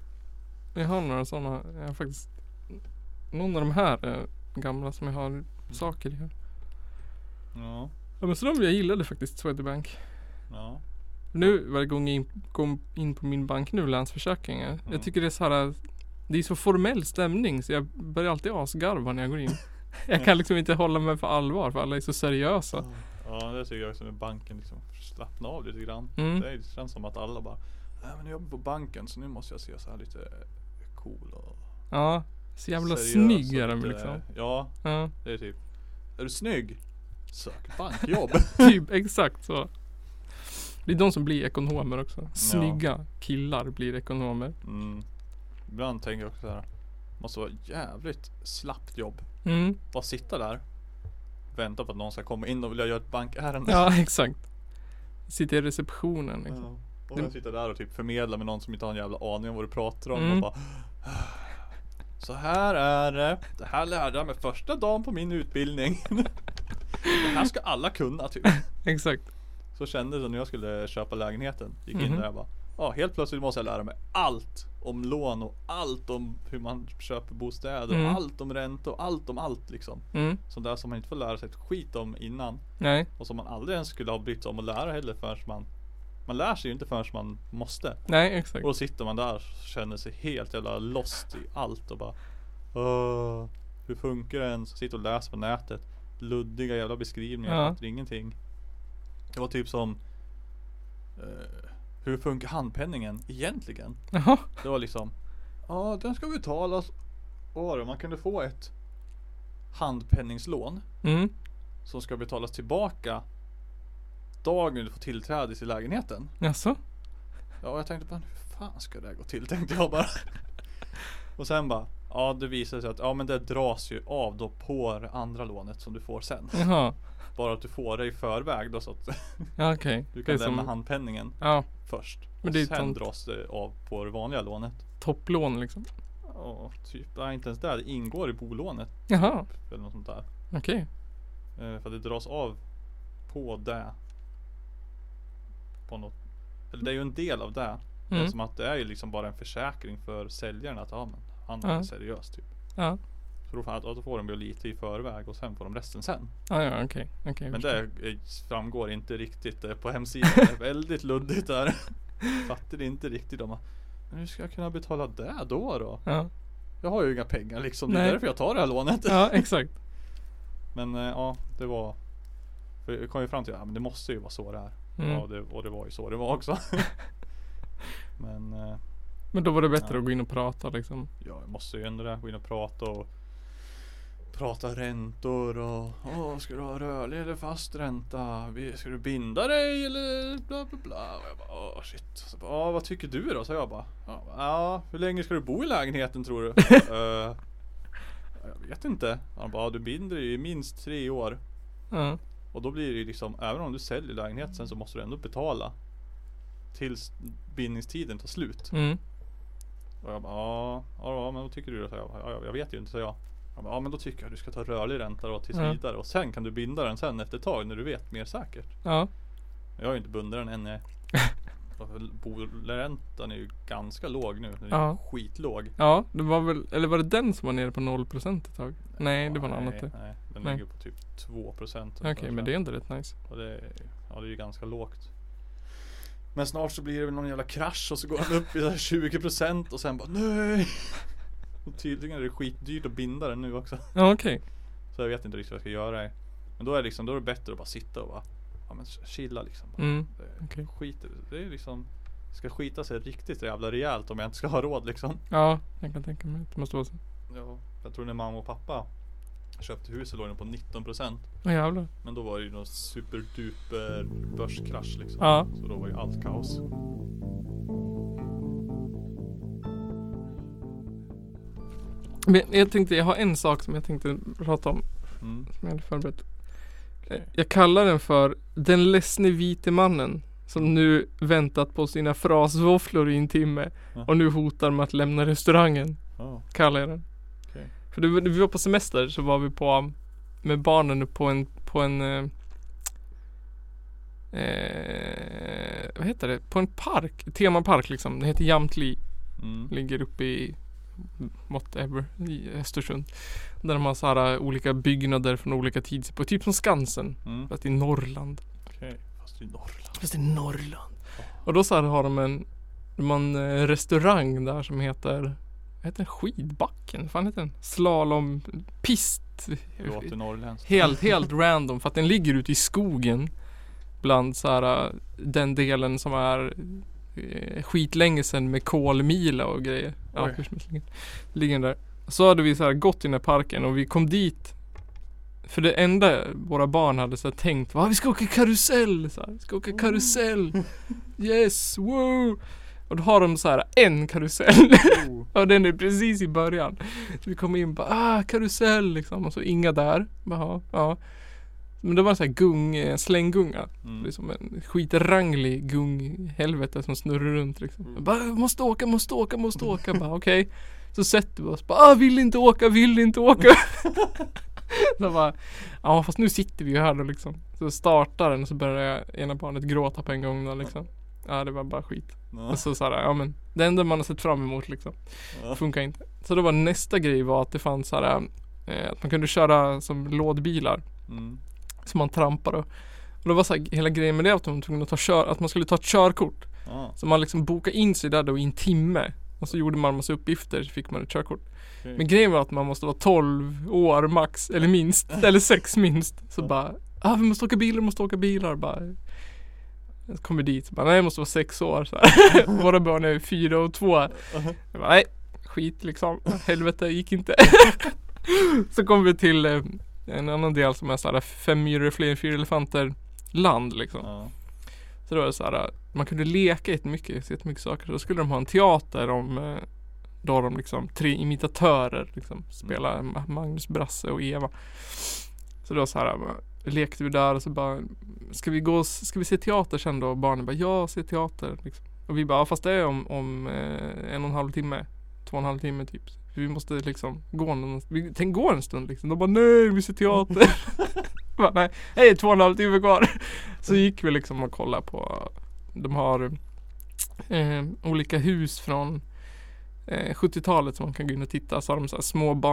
Speaker 1: Jag har några sådana, jag har faktiskt någon av de här eh, gamla som jag har saker i. här.
Speaker 2: Ja.
Speaker 1: Ja men så de jag gillade faktiskt Swedbank.
Speaker 2: Ja.
Speaker 1: Nu varje gång jag in, kom in på min bank nu, Länsförsäkringar.
Speaker 2: Mm.
Speaker 1: Jag tycker det är så här. eh, Det är så formell stämning så jag börjar alltid asgarva när jag går in. jag kan liksom inte hålla mig för allvar för alla är så seriösa.
Speaker 2: Ja det tycker jag också med banken liksom. Slappna av lite grann.
Speaker 1: Mm.
Speaker 2: Det känns som att alla bara Nej men jag jobbar på banken så nu måste jag se så här lite cool och
Speaker 1: Ja, så jävla
Speaker 2: seriös
Speaker 1: snygg
Speaker 2: och
Speaker 1: är de
Speaker 2: lite-
Speaker 1: liksom.
Speaker 2: Ja
Speaker 1: Ja,
Speaker 2: det är typ Är du snygg? Sök bankjobb
Speaker 1: typ exakt så. Det är de som blir ekonomer också. Snygga killar blir ekonomer.
Speaker 2: mm. Ibland tänker jag också så här Måste vara jävligt slappt jobb
Speaker 1: Mm.
Speaker 2: Bara sitta där Vänta på att någon ska komma in och vilja göra ett bankärende
Speaker 1: Ja, exakt. Sitter i receptionen liksom.
Speaker 2: Ja. Och jag sitter där och typ förmedlar med någon som inte har en jävla aning om vad du pratar om
Speaker 1: Mm.
Speaker 2: och bara Så här är det Det här lärde jag mig första dagen på min utbildning Det här ska alla kunna typ
Speaker 1: Exakt.
Speaker 2: Så kändes det när jag skulle köpa lägenheten Gick in
Speaker 1: Mhm.
Speaker 2: där och bara Ja helt plötsligt måste jag lära mig allt om lån och allt om hur man köper bostäder
Speaker 1: Mm.
Speaker 2: och allt om ränta och allt om allt liksom
Speaker 1: Mm.
Speaker 2: Sånt där som man inte får lära sig ett skit om innan
Speaker 1: Nej,
Speaker 2: och som man aldrig ens skulle ha brytt sig om att lära heller förrän man Man lär sig ju inte förrän man måste
Speaker 1: nej exakt.
Speaker 2: och då sitter man där och känner sig helt jävla lost i allt och bara "Åh, Hur funkar det ens? Sitter och läser på nätet Luddiga jävla beskrivningar,
Speaker 1: Ja.
Speaker 2: jag fattar ingenting Det var typ som eh, Hur funkar handpenningen egentligen?
Speaker 1: Jaha.
Speaker 2: Det var liksom Ja den ska betalas Vad var det? Man kunde få ett Handpenningslån
Speaker 1: Mm.
Speaker 2: Som ska betalas tillbaka Dagen du får tillträde till lägenheten
Speaker 1: Jaså?
Speaker 2: Ja, och jag tänkte bara hur fan ska det här gå till? Tänkte jag bara. Och sen bara, ja Ja det visar sig att ja men det dras ju av då på det andra lånet som du får sen.
Speaker 1: Jaha,
Speaker 2: Bara att du får det i förväg då så att
Speaker 1: ja okej.
Speaker 2: du
Speaker 1: Det
Speaker 2: kan
Speaker 1: är
Speaker 2: lämna
Speaker 1: som,
Speaker 2: handpenningen
Speaker 1: ja,
Speaker 2: först.
Speaker 1: Men
Speaker 2: och
Speaker 1: det är
Speaker 2: sen
Speaker 1: tant-
Speaker 2: dras det av på det vanliga lånet.
Speaker 1: topplån liksom.
Speaker 2: Ja typ, nej inte ens där. Det ingår i bolånet
Speaker 1: Jaha,
Speaker 2: eller något sånt där.
Speaker 1: okej.
Speaker 2: Eh, för att det dras av på det. På något. Eller det är ju en del av det. Det är
Speaker 1: Mm.
Speaker 2: Som att det är ju liksom bara en försäkring för säljaren att ja men han är
Speaker 1: Ja.
Speaker 2: seriös typ.
Speaker 1: Ja,
Speaker 2: Så då får, att, att då får de ju lite i förväg och sen får de resten sen.
Speaker 1: ja, ja okej. okej, jag
Speaker 2: Men
Speaker 1: förstår.
Speaker 2: det eh, framgår inte riktigt eh, på hemsidan. Det är väldigt luddigt där. Fattar inte riktigt om att, Men hur ska jag kunna betala det då då?
Speaker 1: Ja,
Speaker 2: Jag har ju inga pengar liksom. Det är
Speaker 1: Nej.
Speaker 2: därför jag tar det här lånet.
Speaker 1: ja exakt.
Speaker 2: Men eh, ja, det var. För jag kom ju fram till att ja, men det måste ju vara så det är.
Speaker 1: Mm.
Speaker 2: Ja, det, och det var ju så det var också. men eh,
Speaker 1: Men då var det bättre
Speaker 2: Ja.
Speaker 1: att gå in och prata liksom.
Speaker 2: ja, jag måste ju ändå det. Gå in och prata och prata räntor och åh, ska du ha rörlig eller fast ränta? Vi- Ska du binda dig eller bla bla bla? Och jag bara åh shit. Så bara, "Ja, vad tycker du då? Så jag bara. "Ja, Ja, hur länge ska du bo i lägenheten tror du? "Eh, jag vet inte. Han bara, "Ja, du binder dig i minst tre år.
Speaker 1: Ja,
Speaker 2: Och då blir det ju liksom, även om du säljer lägenheten sen så måste du ändå betala. Tills bindningstiden tar slut.
Speaker 1: mm.
Speaker 2: Och jag bara, ja, ja, ja men vad tycker du då? Så jag, bara, ja, ja, jag vet ju inte, så jag. Han bara, ja men då tycker jag du ska ta rörlig ränta då tills
Speaker 1: Ja.
Speaker 2: vidare. Och sen kan du binda den sen efter ett tag när du vet mer säkert.
Speaker 1: ja.
Speaker 2: Jag har ju inte bundit den än. jag- Och Bolräntan är ju ganska låg nu. Den är
Speaker 1: Ja.
Speaker 2: skitlåg.
Speaker 1: ja det var väl, eller var det den som var nere på 0% ett tag? Nej, det var något annat det.
Speaker 2: Nej, den
Speaker 1: Nej.
Speaker 2: ligger på typ 2%
Speaker 1: Okej,
Speaker 2: ungefär, så
Speaker 1: men
Speaker 2: här.
Speaker 1: det är ändå rätt nice.
Speaker 2: Och det, ja, det är ju ganska lågt. Men snart så blir det väl någon jävla krasch och så går den upp i så här 20% och sen bara nej. Och tydligen är det skitdyrt att binda den nu också.
Speaker 1: Ja, okej.
Speaker 2: Så jag vet inte riktigt vad jag ska göra. Men då är, det liksom, då är det bättre att bara sitta och bara ja, men chilla liksom.
Speaker 1: Mm,
Speaker 2: Det,
Speaker 1: okej.
Speaker 2: skiter, det är liksom Ska skita sig riktigt jävla rejält om jag inte ska ha råd liksom.
Speaker 1: Ja, jag kan tänka mig att det måste vara så.
Speaker 2: Ja. Jag tror när mamma och pappa köpte huset låg den på 19%
Speaker 1: Åh jävlar.
Speaker 2: Men då var det ju någon superduper börskrasch liksom.
Speaker 1: Ja.
Speaker 2: Så då var ju allt kaos.
Speaker 1: Men jag tänkte, jag har en sak som jag tänkte prata om.
Speaker 2: Mm.
Speaker 1: Som jag hade förberett.
Speaker 2: Okej.
Speaker 1: Jag kallar den för Den ledsne vite mannen. Som nu väntat på sina frasvåfflor i en timme.
Speaker 2: Ja.
Speaker 1: Och nu hotar med att lämna restaurangen.
Speaker 2: Ja,
Speaker 1: Kallar jag den.
Speaker 2: Okej.
Speaker 1: För det, var- vi var på semester så var vi på um, med barnen på en, på en eh, eh, vad heter det? På en park, temapark liksom. Det heter Jamtli.
Speaker 2: Mm.
Speaker 1: Ligger uppe i whatever, i Östersund. Där de har så här eh, olika byggnader från olika tidsepoker. Typ som Skansen.
Speaker 2: Mm.
Speaker 1: Fast i Norrland.
Speaker 2: Okej. Fast i Norrland.
Speaker 1: Fast i Norrland. Och då så här har de en, de har en eh, restaurang där som heter, vad heter den? Skidbacken? Vad fan heter den? Slalompist.
Speaker 2: Låter norrländskt.
Speaker 1: Helt, helt random för att den ligger ute i skogen. Bland så här, eh, den delen som är eh, skitlänge sedan med kolmila och grejer. Ja,
Speaker 2: Oj.
Speaker 1: hur som helst ligger- ligger den där. Så hade vi så här gått i den här parken och vi kom dit. För det enda våra barn hade så här tänkt var "Ah, vi ska åka karusell. Så här, vi ska åka karusell. Yes, wow. Och då har de så här en karusell.
Speaker 2: Oh.
Speaker 1: Ja den är precis i början. Så vi kom in och bara ah, karusell liksom och så inga där. Bara, "Ja, ja. Men det var en sån här gung, eh, slänggunga.
Speaker 2: Mm.
Speaker 1: Det är som en skitranglig gunghelvete som snurrar runt liksom. Jag Bara, måste åka, måste åka, måste åka. Bara okej. Så sätter vi oss bara, ah, vill inte åka, vill inte åka. så bara, ja fast nu sitter vi ju här då liksom. Så startar den och så börjar ena barnet gråta på en gång då liksom. Ja det var bara skit.
Speaker 2: Ja.
Speaker 1: Och så såhär, ja men det enda man har sett fram emot liksom.
Speaker 2: Ja.
Speaker 1: Funkar inte. Så då var nästa grej var att det fanns så här, eh, att man kunde köra som lådbilar
Speaker 2: Mm.
Speaker 1: som man trampar och, och det var så här, hela grejen med det att, de var tvungna att, ta kör, att man skulle ta ett körkort.
Speaker 2: Ja.
Speaker 1: Så man liksom bokade in sig där då i en timme. Och så gjorde man massa uppgifter så fick man ett körkort.
Speaker 2: okej.
Speaker 1: Men grejen var att man måste vara 12 år max eller minst, eller sex minst. Så
Speaker 2: Ja.
Speaker 1: bara, ah, vi måste åka bilar, vi måste åka bilar. Bara, jag kommer dit, bara, nej jag måste vara sex år. Så här. Våra barn är fyra och två. Jag bara, nej, skit liksom. Helvete, gick inte. så kom vi till eh, en annan del som är så här fem myror, fler fyra elefanter land liksom.
Speaker 2: Ja.
Speaker 1: Så då var det så här, man kunde leka jättemycket, så jättemycket saker. Så då skulle de ha en teater om eh, då har de liksom tre imitatörer liksom spelar Ma- Magnus, Brasse och Eva. Så då så här bara, lekte vi där och så bara Ska vi gå och, s- ska vi se teater sen då? Och barnen bara ja, se teater. Liksom. Och vi bara ja, fast det är om, om eh, en och en halv timme. Två och en halv timme typ. Vi måste liksom gå någon, vi, tänk gå en stund liksom. De bara nej, vi ser teater. Jag bara, nej, hej två och en halv timme kvar. Så gick vi liksom och kollade på De har eh, olika hus från eh, 70-talet som man kan gå in och titta. Så har de så här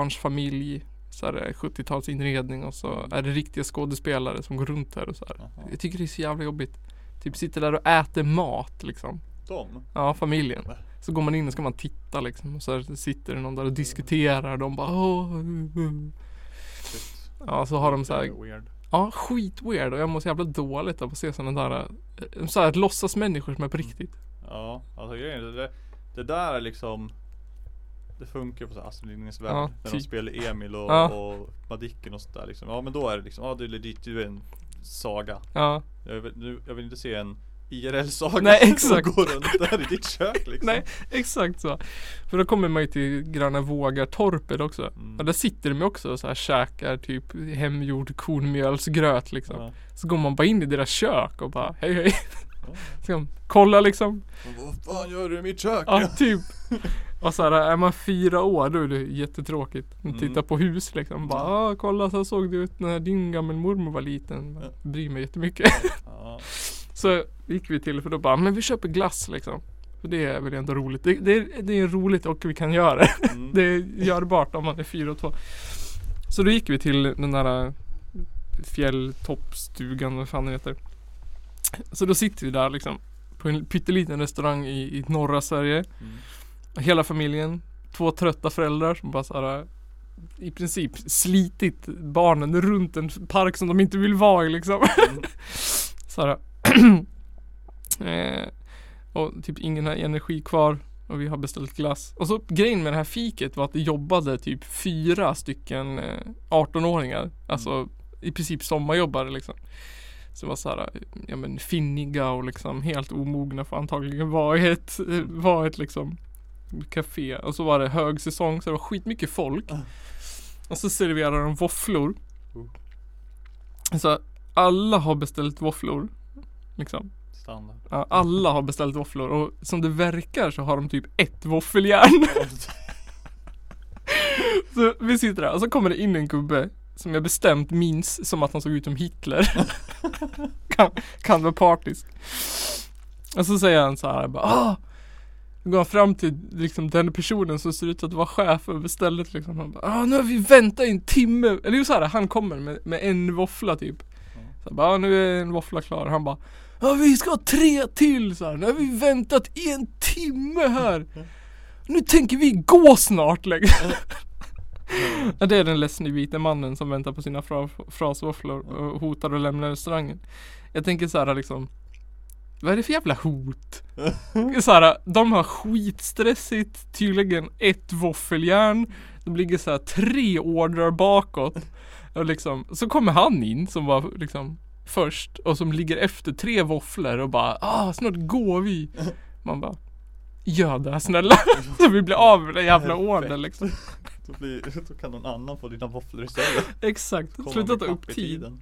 Speaker 1: småbarnsfamilj, så här eh, 70-talsinredning och så är det riktiga skådespelare som går runt här och så här.
Speaker 2: Jaha.
Speaker 1: Jag tycker det är så jävla jobbigt. Typ sitter där och äter mat liksom.
Speaker 2: De?
Speaker 1: Ja, familjen. Så går man in och ska man titta liksom. Och så här sitter det någon där och diskuterar. De bara Åh. uh, uh."
Speaker 2: Shit.
Speaker 1: Ja, så har de så här.
Speaker 2: Jävla Weird.
Speaker 1: Ja, skit weird. Och jag mår så jävla dåligt av att se sådana där. eh, Så här låtsas människor som är på
Speaker 2: Mm.
Speaker 1: riktigt.
Speaker 2: Ja, alltså grejen är det, där- det där är liksom Det funkar på så här Astrid Lindgrens värld.
Speaker 1: Ja,
Speaker 2: när de
Speaker 1: typ.
Speaker 2: spelar Emil och,
Speaker 1: Ja.
Speaker 2: och Madicken och sådär liksom. Ja men då är det liksom, ja du är legit, du är en saga.
Speaker 1: Ja,
Speaker 2: Jag vill, nu, jag vill inte se en IRL-saga
Speaker 1: Nej,
Speaker 2: som
Speaker 1: exakt.
Speaker 2: går runt där i ditt kök liksom.
Speaker 1: nej, exakt så. För då kommer man ju till Gröna Vågar-torpet också.
Speaker 2: Mm.
Speaker 1: Och där sitter de ju också och så här käkar typ hemgjord kornmjölsgröt liksom.
Speaker 2: Ja.
Speaker 1: Så går man bara in i deras kök och bara hej hej.
Speaker 2: Ja.
Speaker 1: Liksom, kolla liksom.
Speaker 2: Men Vad fan gör du i mitt kök?
Speaker 1: Ja, typ. Och så här, är man fyra år då är det jättetråkigt. Man
Speaker 2: Mm.
Speaker 1: tittar på hus liksom. Bara, ah, kolla så här såg det ut när din gammelmormor var liten. Bara, Bryr mig jättemycket.
Speaker 2: Ja.
Speaker 1: Så gick vi till för då bara, men vi köper glass liksom. För det är väl ändå roligt. Det, det, är- det är roligt och vi kan göra det.
Speaker 2: Mm.
Speaker 1: Det är görbart om man är fyra och två. Så då gick vi till den där eh, fjälltoppstugan, vad fan den heter. Så då sitter vi där liksom. På en pytteliten restaurang i, i norra Sverige.
Speaker 2: Mm.
Speaker 1: Hela familjen, två trötta föräldrar som bara såhär i princip slitit barnen runt en park som de inte vill vara i liksom.
Speaker 2: Mm.
Speaker 1: Såhär. eh, och typ ingen har energi kvar och vi har beställt glass. Och så grejen med det här fiket var att det jobbade typ fyra stycken eh, 18-åringar. Alltså i princip sommarjobbare liksom. Så det var såhär, ja men finniga och liksom helt omogna för antagligen var i ett, var ett liksom café. Och så var det högsäsong så det var skitmycket folk. Och så serverade de våfflor. Så alla har beställt våfflor. Liksom.
Speaker 2: Standard.
Speaker 1: Ja, alla har beställt våfflor och som det verkar så har de typ ett våffeljärn. Så vi sitter där och så kommer det in en gubbe som jag bestämt minns som att han såg ut som Hitler. kan, kan vara partisk. Och så säger han så här bara ah! Då går han fram till liksom, den personen som ser ut att vara chef över stället liksom. Han bara ah, nu har vi väntat i en timme. Eller ju så här, han kommer med, med en våffla typ. Så jag bara, ah, nu är en våffla klar. Han bara Ja vi ska ha tre till så här. Nu har vi väntat i en timme här. Nu tänker vi gå snart längre. Ja, det är den ledsne vita mannen som väntar på sina fra- frasvåfflor och hotar att lämna restaurangen. Jag tänker så här liksom. Vad är det för jävla hot? Så här, de har skitstressigt, tydligen ett våffeljärn. De ligger så här tre ordrar bakåt. Och liksom, så kommer han in som var liksom först och som ligger efter tre våfflor och bara ah, snart går vi. Man bara Gör det här snälla. Så vi blir av med den jävla ordern liksom.
Speaker 2: Då, blir, då kan någon annan få dina våfflor istället.
Speaker 1: Exakt,
Speaker 2: Komma
Speaker 1: sluta
Speaker 2: med
Speaker 1: ta upp
Speaker 2: kapp i
Speaker 1: tid.
Speaker 2: tiden.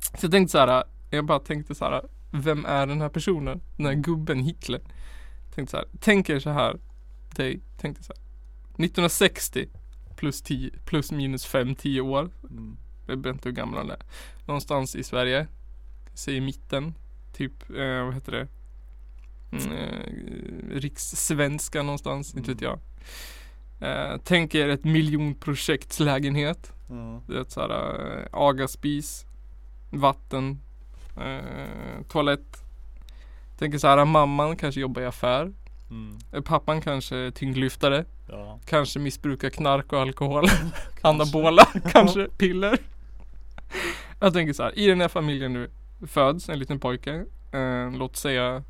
Speaker 1: Så jag tänkte så här, jag bara tänkte så här, vem är den här personen? Den här gubben Hitler. Tänkte så här, tänk er så här, dig, tänkte så här. 1960 plus 10, plus minus 5, 10 år.
Speaker 2: Mm.
Speaker 1: Jag vet inte hur gammal han är. Någonstans i Sverige. Säg i mitten. Typ, eh, vad heter det? Mm, eh, rikssvenska någonstans, inte vet
Speaker 2: Mm.
Speaker 1: jag. Eh, tänk er ett miljonprojektslägenhet.
Speaker 2: Ja.
Speaker 1: Du vet såhär, äh, agaspis, vatten, eh, toalett. Tänker såhär, mamman kanske jobbar i affär.
Speaker 2: Mm.
Speaker 1: Eh, Pappan kanske är tyngdlyftare.
Speaker 2: Ja.
Speaker 1: Kanske missbrukar knark och alkohol. Anabola, kanske piller. Jag tänker så här, i den här familjen nu föds en liten pojke. Eh, låt säga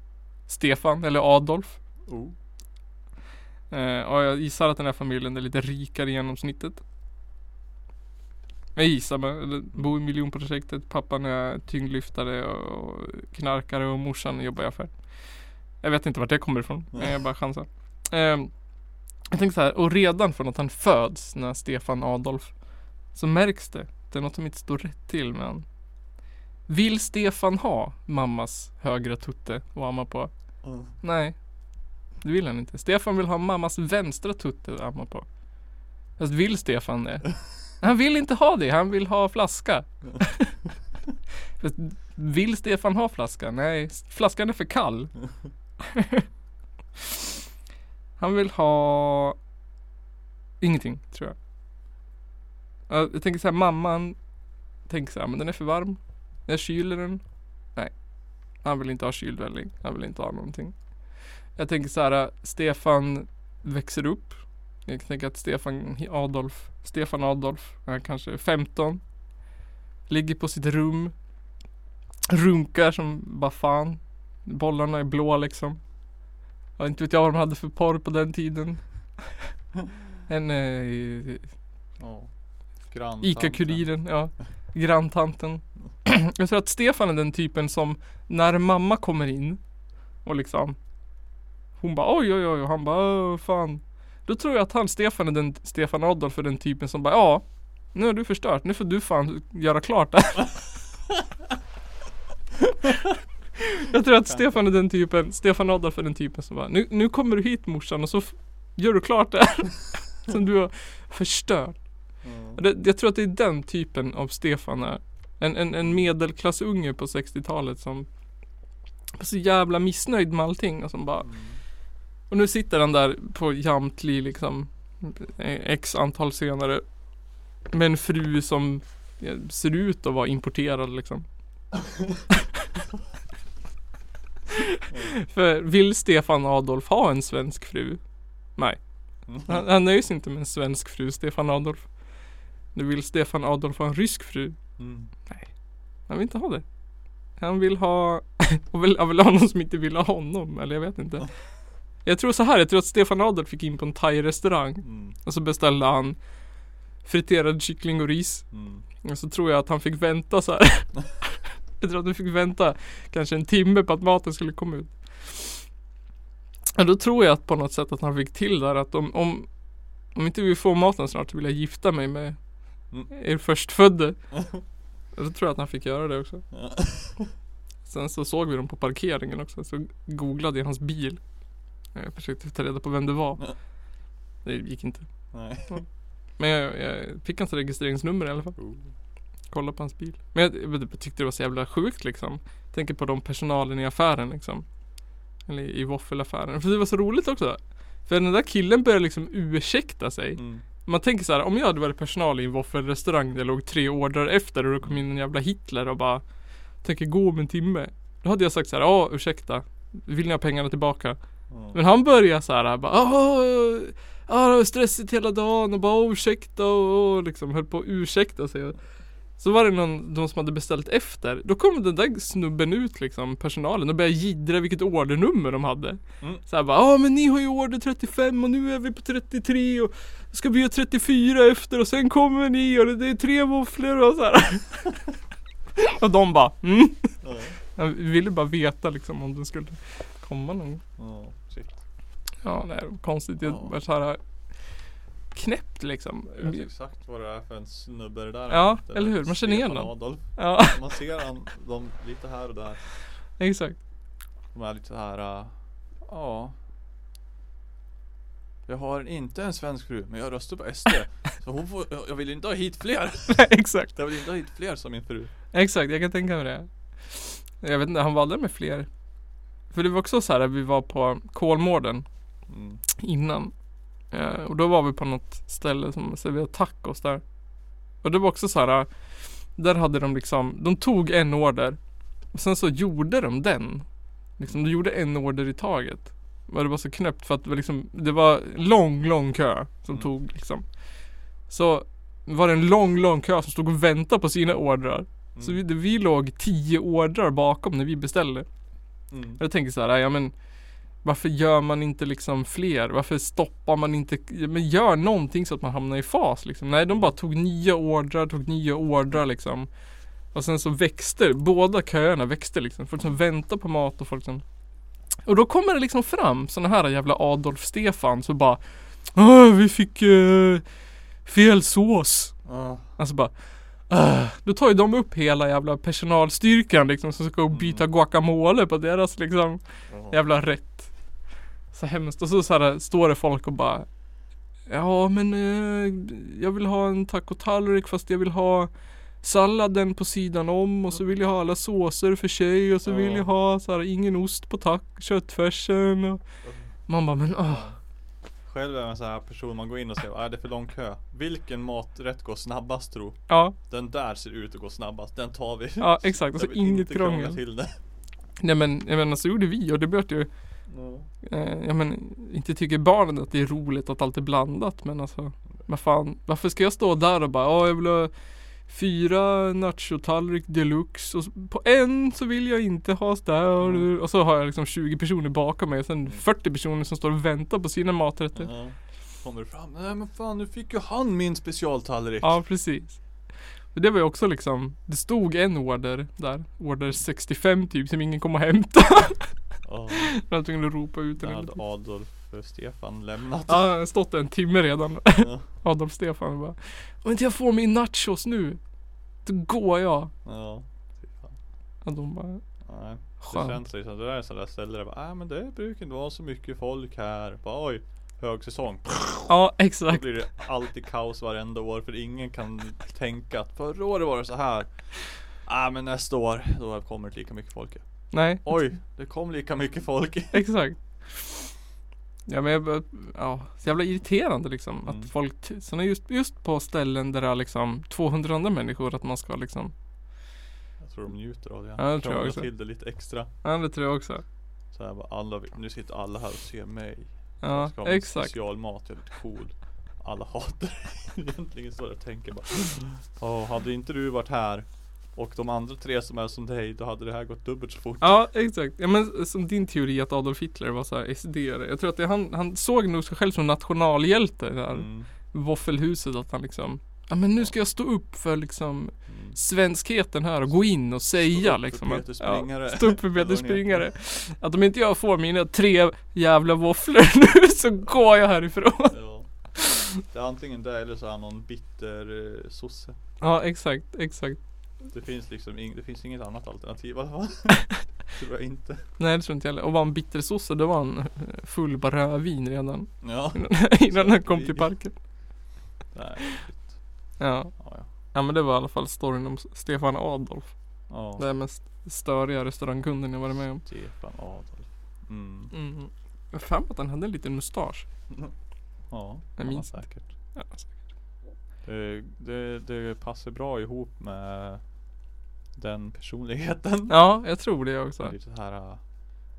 Speaker 1: Stefan eller Adolf.
Speaker 2: Oh.
Speaker 1: Eh, och jag gissar att den här familjen är lite rikare i genomsnittet. Jag gissar men bor i miljonprojektet, pappan är tyngdlyftare och knarkare och morsan jobbar i affär. Jag vet inte vart det kommer ifrån, men jag bara chansar. Eh, Jag tänker så här, och redan från att han föds när Stefan Adolf så märks det. Det är något som inte står rätt till med han. Vill Stefan ha mammas högra tutte att amma på?
Speaker 2: Mm.
Speaker 1: Nej, det vill han inte. Stefan vill ha mammas vänstra tutte att amma på. Fast vill Stefan det? Han vill inte ha det, han vill ha flaska. Fast vill Stefan ha flaska? Nej, flaskan är för kall. han vill ha ingenting, tror jag. Ja, Jag tänker så här, mamman tänker så här, men den är för varm. Jag kyler den. Nej, han vill inte ha kylvälling. Han vill inte ha någonting. Jag tänker så här, äh, Stefan växer upp. Jag tänker att Stefan Adolf, Stefan Adolf, han kanske är 15. Ligger på sitt rum. Runkar som bara fan. Bollarna är blå liksom. Ja, inte vet jag vad de hade för porr på den tiden. en eh,
Speaker 2: Ja. Granntanten.
Speaker 1: Ica-kuriren, ja. Granntanten. Jag tror att Stefan är den typen som när mamma kommer in och liksom hon bara oj oj oj och han bara "Åh, fan. Då tror jag att han Stefan är den Stefan Adolf är den typen som bara ja nu har du förstört nu får du fan göra klart det här." Jag tror att Stefan är den typen Stefan Adolf är den typen som bara nu, nu kommer du hit morsan och så f- gör du klart det här som du har förstört.
Speaker 2: Mm.
Speaker 1: Och Det, jag tror att det är den typen av Stefan är. En, en, en medelklassunge på 60-talet som var så jävla missnöjd med allting och som bara
Speaker 2: Mm.
Speaker 1: Och nu sitter han där på Jamtli liksom eh, X antal senare Med en fru som eh, ser ut att vara importerad liksom För vill Stefan Adolf ha en svensk fru?
Speaker 2: Mm.
Speaker 1: Han, han nöjer sig inte med en svensk fru, Stefan Adolf Nu vill Stefan Adolf ha en rysk fru
Speaker 2: Mm.
Speaker 1: Han vill inte ha det. Han vill ha, och vill, han vill ha någon som inte vill ha honom, eller jag vet inte. Jag tror så här, jag tror att Stefan Adolf gick in på en thai-restaurang
Speaker 2: Mm.
Speaker 1: och så beställde han friterad kyckling och ris.
Speaker 2: Mm.
Speaker 1: Och så tror jag att han fick vänta så här. Jag tror att han fick vänta kanske en timme på att maten skulle komma ut. Och då tror jag att på något sätt att han fick till där att om, om, om inte vi får maten snart så vill jag gifta mig med
Speaker 2: Mm.
Speaker 1: er förstfödde. Och då tror jag att han fick göra det också.
Speaker 2: Ja.
Speaker 1: Sen så såg vi dem på parkeringen också, så googlade jag hans bil. Jag försökte ta reda på vem det var.
Speaker 2: Ja.
Speaker 1: Det gick inte.
Speaker 2: Nej.
Speaker 1: Men jag, jag fick hans registreringsnummer i alla fall.
Speaker 2: Oh.
Speaker 1: Kolla på hans bil. Men jag, jag tyckte det var så jävla sjukt liksom. Tänker på de personalen i affären liksom. Eller i våffelaffären. För det var så roligt också. För den där killen började liksom ursäkta sig.
Speaker 2: Mm.
Speaker 1: Man tänker så här, om jag hade varit personal i en våffelrestaurang där jag låg tre ordrar efter och då kom in en jävla Hitler och bara Tänker gå om en timme Då hade jag sagt så här, ja ursäkta Vill ni ha pengarna tillbaka?
Speaker 2: Ja.
Speaker 1: Men han börjar så här, bara "Åh, Ja, det var stressigt hela dagen och bara "Åh, ursäkta och, och liksom höll på att ursäkta sig Så var det någon, de som hade beställt efter Då kom den där snubben ut liksom, personalen och började jiddra vilket ordernummer de hade
Speaker 2: Mm.
Speaker 1: så här bara, ja men ni har ju order 35 och nu är vi på 33 och ska vi göra 34 efter och sen kommer ni och det är tre våfflor och så här. och de bara, mm.
Speaker 2: Ja.
Speaker 1: Jag ville bara veta liksom om den skulle komma någon gång.
Speaker 2: Ja. Shit.
Speaker 1: Ja, nej, det var konstigt. Jag
Speaker 2: Ja.
Speaker 1: var så här knäppt liksom.
Speaker 2: Jag vet exakt vad det är för en snubbe det där
Speaker 1: Ja,
Speaker 2: är.
Speaker 1: eller hur? Man känner igen
Speaker 2: Stefan
Speaker 1: honom.
Speaker 2: Adolf.
Speaker 1: Ja,
Speaker 2: Man ser han, de lite här och där.
Speaker 1: exakt.
Speaker 2: De är lite så här, äh, ja. Jag har inte en svensk fru, men jag röstar på SD. Så hon får, jag jag vill inte ha hit fler.
Speaker 1: exakt.
Speaker 2: Jag vill inte ha hit fler som min fru.
Speaker 1: Exakt, jag kan tänka mig det. Jag vet inte, han valde med fler. För det var också så här, vi var på Kolmården.
Speaker 2: Mm.
Speaker 1: innan. Eh, och då var vi på något ställe som serverade tacos där. Och det var också så här. eh, Där hade de liksom, de tog en order. Och sen så gjorde de den. Liksom, de gjorde en order i taget. Och det var så knäppt för att det var liksom, det var lång, lång kö som
Speaker 2: Mm.
Speaker 1: tog liksom. Så var det en lång, lång kö som stod och väntade på sina ordrar. Så vi,
Speaker 2: Mm.
Speaker 1: vi låg tio ordrar bakom när vi beställde.
Speaker 2: Mm.
Speaker 1: Jag tänker så här, ja men varför gör man inte liksom fler? Varför stoppar man inte? ja, Men gör någonting så att man hamnar i fas liksom. Nej, de bara tog nya ordrar, tog nya ordrar liksom. Och sen så växte båda köerna växte liksom. Folk som väntar på mat och folk som... Och då kommer det liksom fram sådana här jävla Adolf Stefan så bara Åh, vi fick eh, fel sås.
Speaker 2: Ja.
Speaker 1: Alltså bara "Ah." Då tar ju de upp hela jävla personalstyrkan liksom som ska gå och byta guacamole på deras liksom
Speaker 2: Ja.
Speaker 1: jävla rätt. Så hemskt. Och så, så här, står det folk och bara Ja men eh, jag vill ha en tacotallrik fast jag vill ha salladen på sidan om och så vill jag ha alla såser för sig och så vill
Speaker 2: Ja.
Speaker 1: jag ha så här, ingen ost på tack, köttfärsen och Man bara men åh.
Speaker 2: Själv är man en sån här person man går in och säger ah, det är för lång kö. Vilken maträtt går snabbast tro?
Speaker 1: Ja,
Speaker 2: Den där ser ut att gå snabbast, den tar vi.
Speaker 1: ja exakt.
Speaker 2: Jag
Speaker 1: Alltså
Speaker 2: vill
Speaker 1: inget
Speaker 2: inte krångla
Speaker 1: krångel.
Speaker 2: till det.
Speaker 1: Nej men jag menar så gjorde vi och det blev ju eh, Jag menar inte tycker barnen att det är roligt att allt är blandat men alltså Men fan varför ska jag stå där och bara ja jag vill ha Fyra nachotallrik deluxe och s- på en så vill jag inte ha så där och, och så har jag liksom 20 personer bakom mig och sen 40 personer som står och väntar på sina maträtter.
Speaker 2: Ja. Kommer du fram, nej men fan nu fick ju han min specialtallrik.
Speaker 1: Ja precis. Och Det var ju också liksom, det stod en order där, order 65 typ som ingen kom och hämtade.
Speaker 2: Ja.
Speaker 1: Jag var tvungen att ropa ut den.
Speaker 2: Där
Speaker 1: hela
Speaker 2: hade
Speaker 1: tiden.
Speaker 2: Adolf eh, Stefan lämnat.
Speaker 1: Ja, jag har stått där en timme redan.
Speaker 2: Ja.
Speaker 1: Adolf Stefan bara Om inte jag får min nachos nu Då går jag
Speaker 2: Ja. Fy fan.
Speaker 1: Och de bara
Speaker 2: Nej. Det
Speaker 1: Skönt
Speaker 2: känns liksom, det där är sådana där ställen där bara, ah, men det brukar inte vara så mycket folk här. Bara, Oj, högsäsong.
Speaker 1: Ja
Speaker 2: Då
Speaker 1: exakt
Speaker 2: blir det alltid kaos varenda år för ingen kan tänka att förra året var det så här. Ah men nästa år, då kommer det lika mycket folk.
Speaker 1: Nej
Speaker 2: Oj, det kom lika mycket folk.
Speaker 1: Exakt Ja men jag bara- Ja så jävla irriterande liksom
Speaker 2: Mm.
Speaker 1: Att folk t- Såna just, just på ställen där det är liksom 200 andra människor Att man ska liksom
Speaker 2: Jag tror de njuter av det.
Speaker 1: Ja, det tror jag
Speaker 2: Krånglar
Speaker 1: också.
Speaker 2: till det lite extra.
Speaker 1: Ja det tror jag också
Speaker 2: Så här bara, alla, nu sitter alla här och ser mig.
Speaker 1: Ja
Speaker 2: ska ha min
Speaker 1: exakt
Speaker 2: specialmat, jag är lite cool. Alla hatar det. Egentligen så jag tänker bara. "Åh, hade inte du varit här och de andra tre som är som dig, då hade det här gått dubbelt så fort.
Speaker 1: Ja exakt, ja men som din teori att Adolf Hitler var såhär sd Jag tror att det, han, han såg nog sig själv som nationalhjälte där
Speaker 2: Mm,
Speaker 1: våffelhuset att han liksom Ja men nu ska jag stå upp för liksom
Speaker 2: mm.
Speaker 1: svenskheten här och gå in och säga
Speaker 2: upp för
Speaker 1: liksom
Speaker 2: Peter
Speaker 1: att,
Speaker 2: Springare.
Speaker 1: ja, Stå upp för
Speaker 2: Eller vad
Speaker 1: Peter
Speaker 2: han heter.
Speaker 1: Springare Att om inte jag får mina tre jävla våfflor nu så går jag härifrån
Speaker 2: Ja. Det är antingen det eller så är han någon bitter eh, sosse.
Speaker 1: Ja exakt, exakt
Speaker 2: Det finns liksom ing- det finns inget annat alternativ i alla fall. Tror jag inte.
Speaker 1: Nej det tror inte jag heller. Och var han bittersosse då var han eh, full bara rödvin redan
Speaker 2: Ja.
Speaker 1: Innan han kom till parken
Speaker 2: Nej, shit.
Speaker 1: Ja,
Speaker 2: ja, ja.
Speaker 1: ja men det var i alla fall storyn om Stefan Adolf Det
Speaker 2: ja.
Speaker 1: är mest störiga restaurangkunden jag varit med om
Speaker 2: Stefan Adolf. Mm.
Speaker 1: mm. Jag har för mig att han hade en liten mustasch
Speaker 2: Ja,
Speaker 1: Jag
Speaker 2: han har
Speaker 1: minns
Speaker 2: säkert.
Speaker 1: ja, alltså.
Speaker 2: Det, Eh, det, det passar bra ihop med den personligheten.
Speaker 1: Ja, jag tror det också.
Speaker 2: Lite så här äh,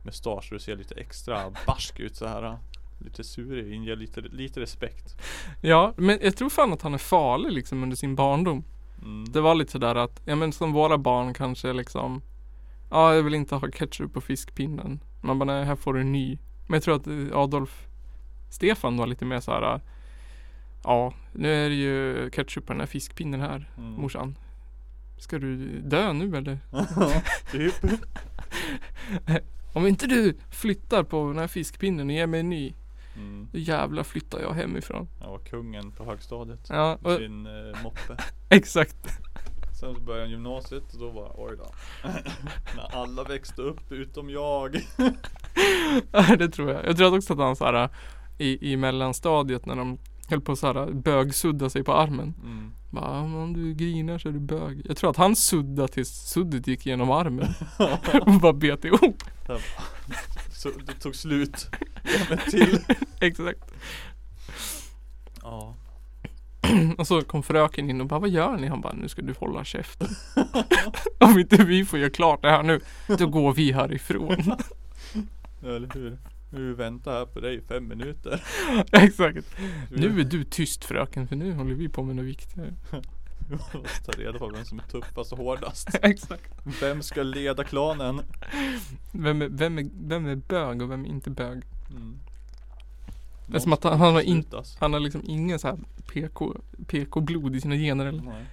Speaker 2: mustasch, du ser lite extra barsk ut så här. äh. Lite surig, inger lite, lite respekt.
Speaker 1: Ja, men jag tror fan att han är farlig liksom under sin barndom.
Speaker 2: Mm.
Speaker 1: Det var lite sådär att, ja men som våra barn kanske liksom Ja, jag vill inte ha ketchup på fiskpinnen. Man bara, nej här får du en ny. Men jag tror att eh, Adolf Stefan var lite mer såhär Ja, nu är det ju ketchup på den här fiskpinnen här,
Speaker 2: Mm.
Speaker 1: morsan. Ska du dö nu eller?
Speaker 2: typ.
Speaker 1: Om inte du flyttar på den här fiskpinnen och ger mig en ny,
Speaker 2: Mm.
Speaker 1: då jävlar flyttar jag hemifrån.
Speaker 2: Jag var kungen på högstadiet.
Speaker 1: Ja,
Speaker 2: med
Speaker 1: och,
Speaker 2: Sin eh, moppe.
Speaker 1: exakt.
Speaker 2: Sen så började gymnasiet och då var oj då. När alla växte upp utom jag.
Speaker 1: Ja, det tror jag. Jag tror också att han så här i, i mellanstadiet när de höll på att så här bögsudda sig på armen.
Speaker 2: Mm.
Speaker 1: Bara, om du grinar så är du bög. Jag tror att han sudda tills suddet gick genom armen. Och Mm. bara bet ihop.
Speaker 2: Så det tog slut. Ja, men till.
Speaker 1: Exakt.
Speaker 2: Ja.
Speaker 1: Och så kom fröken in och bara, vad gör ni? Han bara, nu ska du hålla käften. om inte vi får göra klart det här nu, då går vi härifrån.
Speaker 2: Eller hur? Nu väntar jag på dig i fem minuter.
Speaker 1: Exakt. Nu är du tyst fröken, för nu håller vi på med något viktigare.
Speaker 2: Vi måste ta reda på vem som är tuffast och hårdast.
Speaker 1: Exakt.
Speaker 2: Vem ska leda klanen?
Speaker 1: Vem är, vem, är, vem är bög och vem är inte bög?
Speaker 2: Mm.
Speaker 1: Det är som att han- han har inte- Han har liksom ingen så här PK, PK-blod i sina gener eller
Speaker 2: Nej.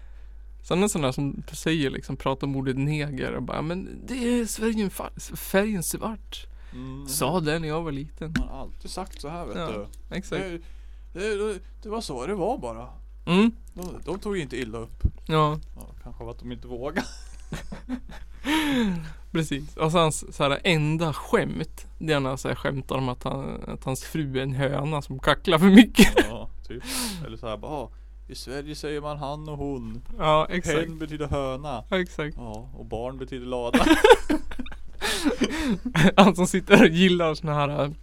Speaker 1: Sen en sån där som säger liksom, pratar om ordet neger och bara Men det är Sverige fa- färgen svart
Speaker 2: Mm.
Speaker 1: Sa det när jag var liten
Speaker 2: Han har alltid sagt så här vet
Speaker 1: Ja,
Speaker 2: du.
Speaker 1: Exakt
Speaker 2: Jag, Det, det var så det var bara.
Speaker 1: Mm.
Speaker 2: De, de tog inte illa upp.
Speaker 1: Ja,
Speaker 2: Ja, kanske var att de inte vågade.
Speaker 1: precis. Och så hans så här, enda skämt. Det är när han så här, skämtar om att, han, att hans fru är en höna som kacklar för mycket.
Speaker 2: Ja, typ. Eller så här bara, "Ah, i Sverige säger man han och hon.
Speaker 1: Ja, exakt.
Speaker 2: Hen betyder höna.
Speaker 1: Ja, exakt.
Speaker 2: Ja, och barn betyder lada.
Speaker 1: Han som sitter och gillar såna här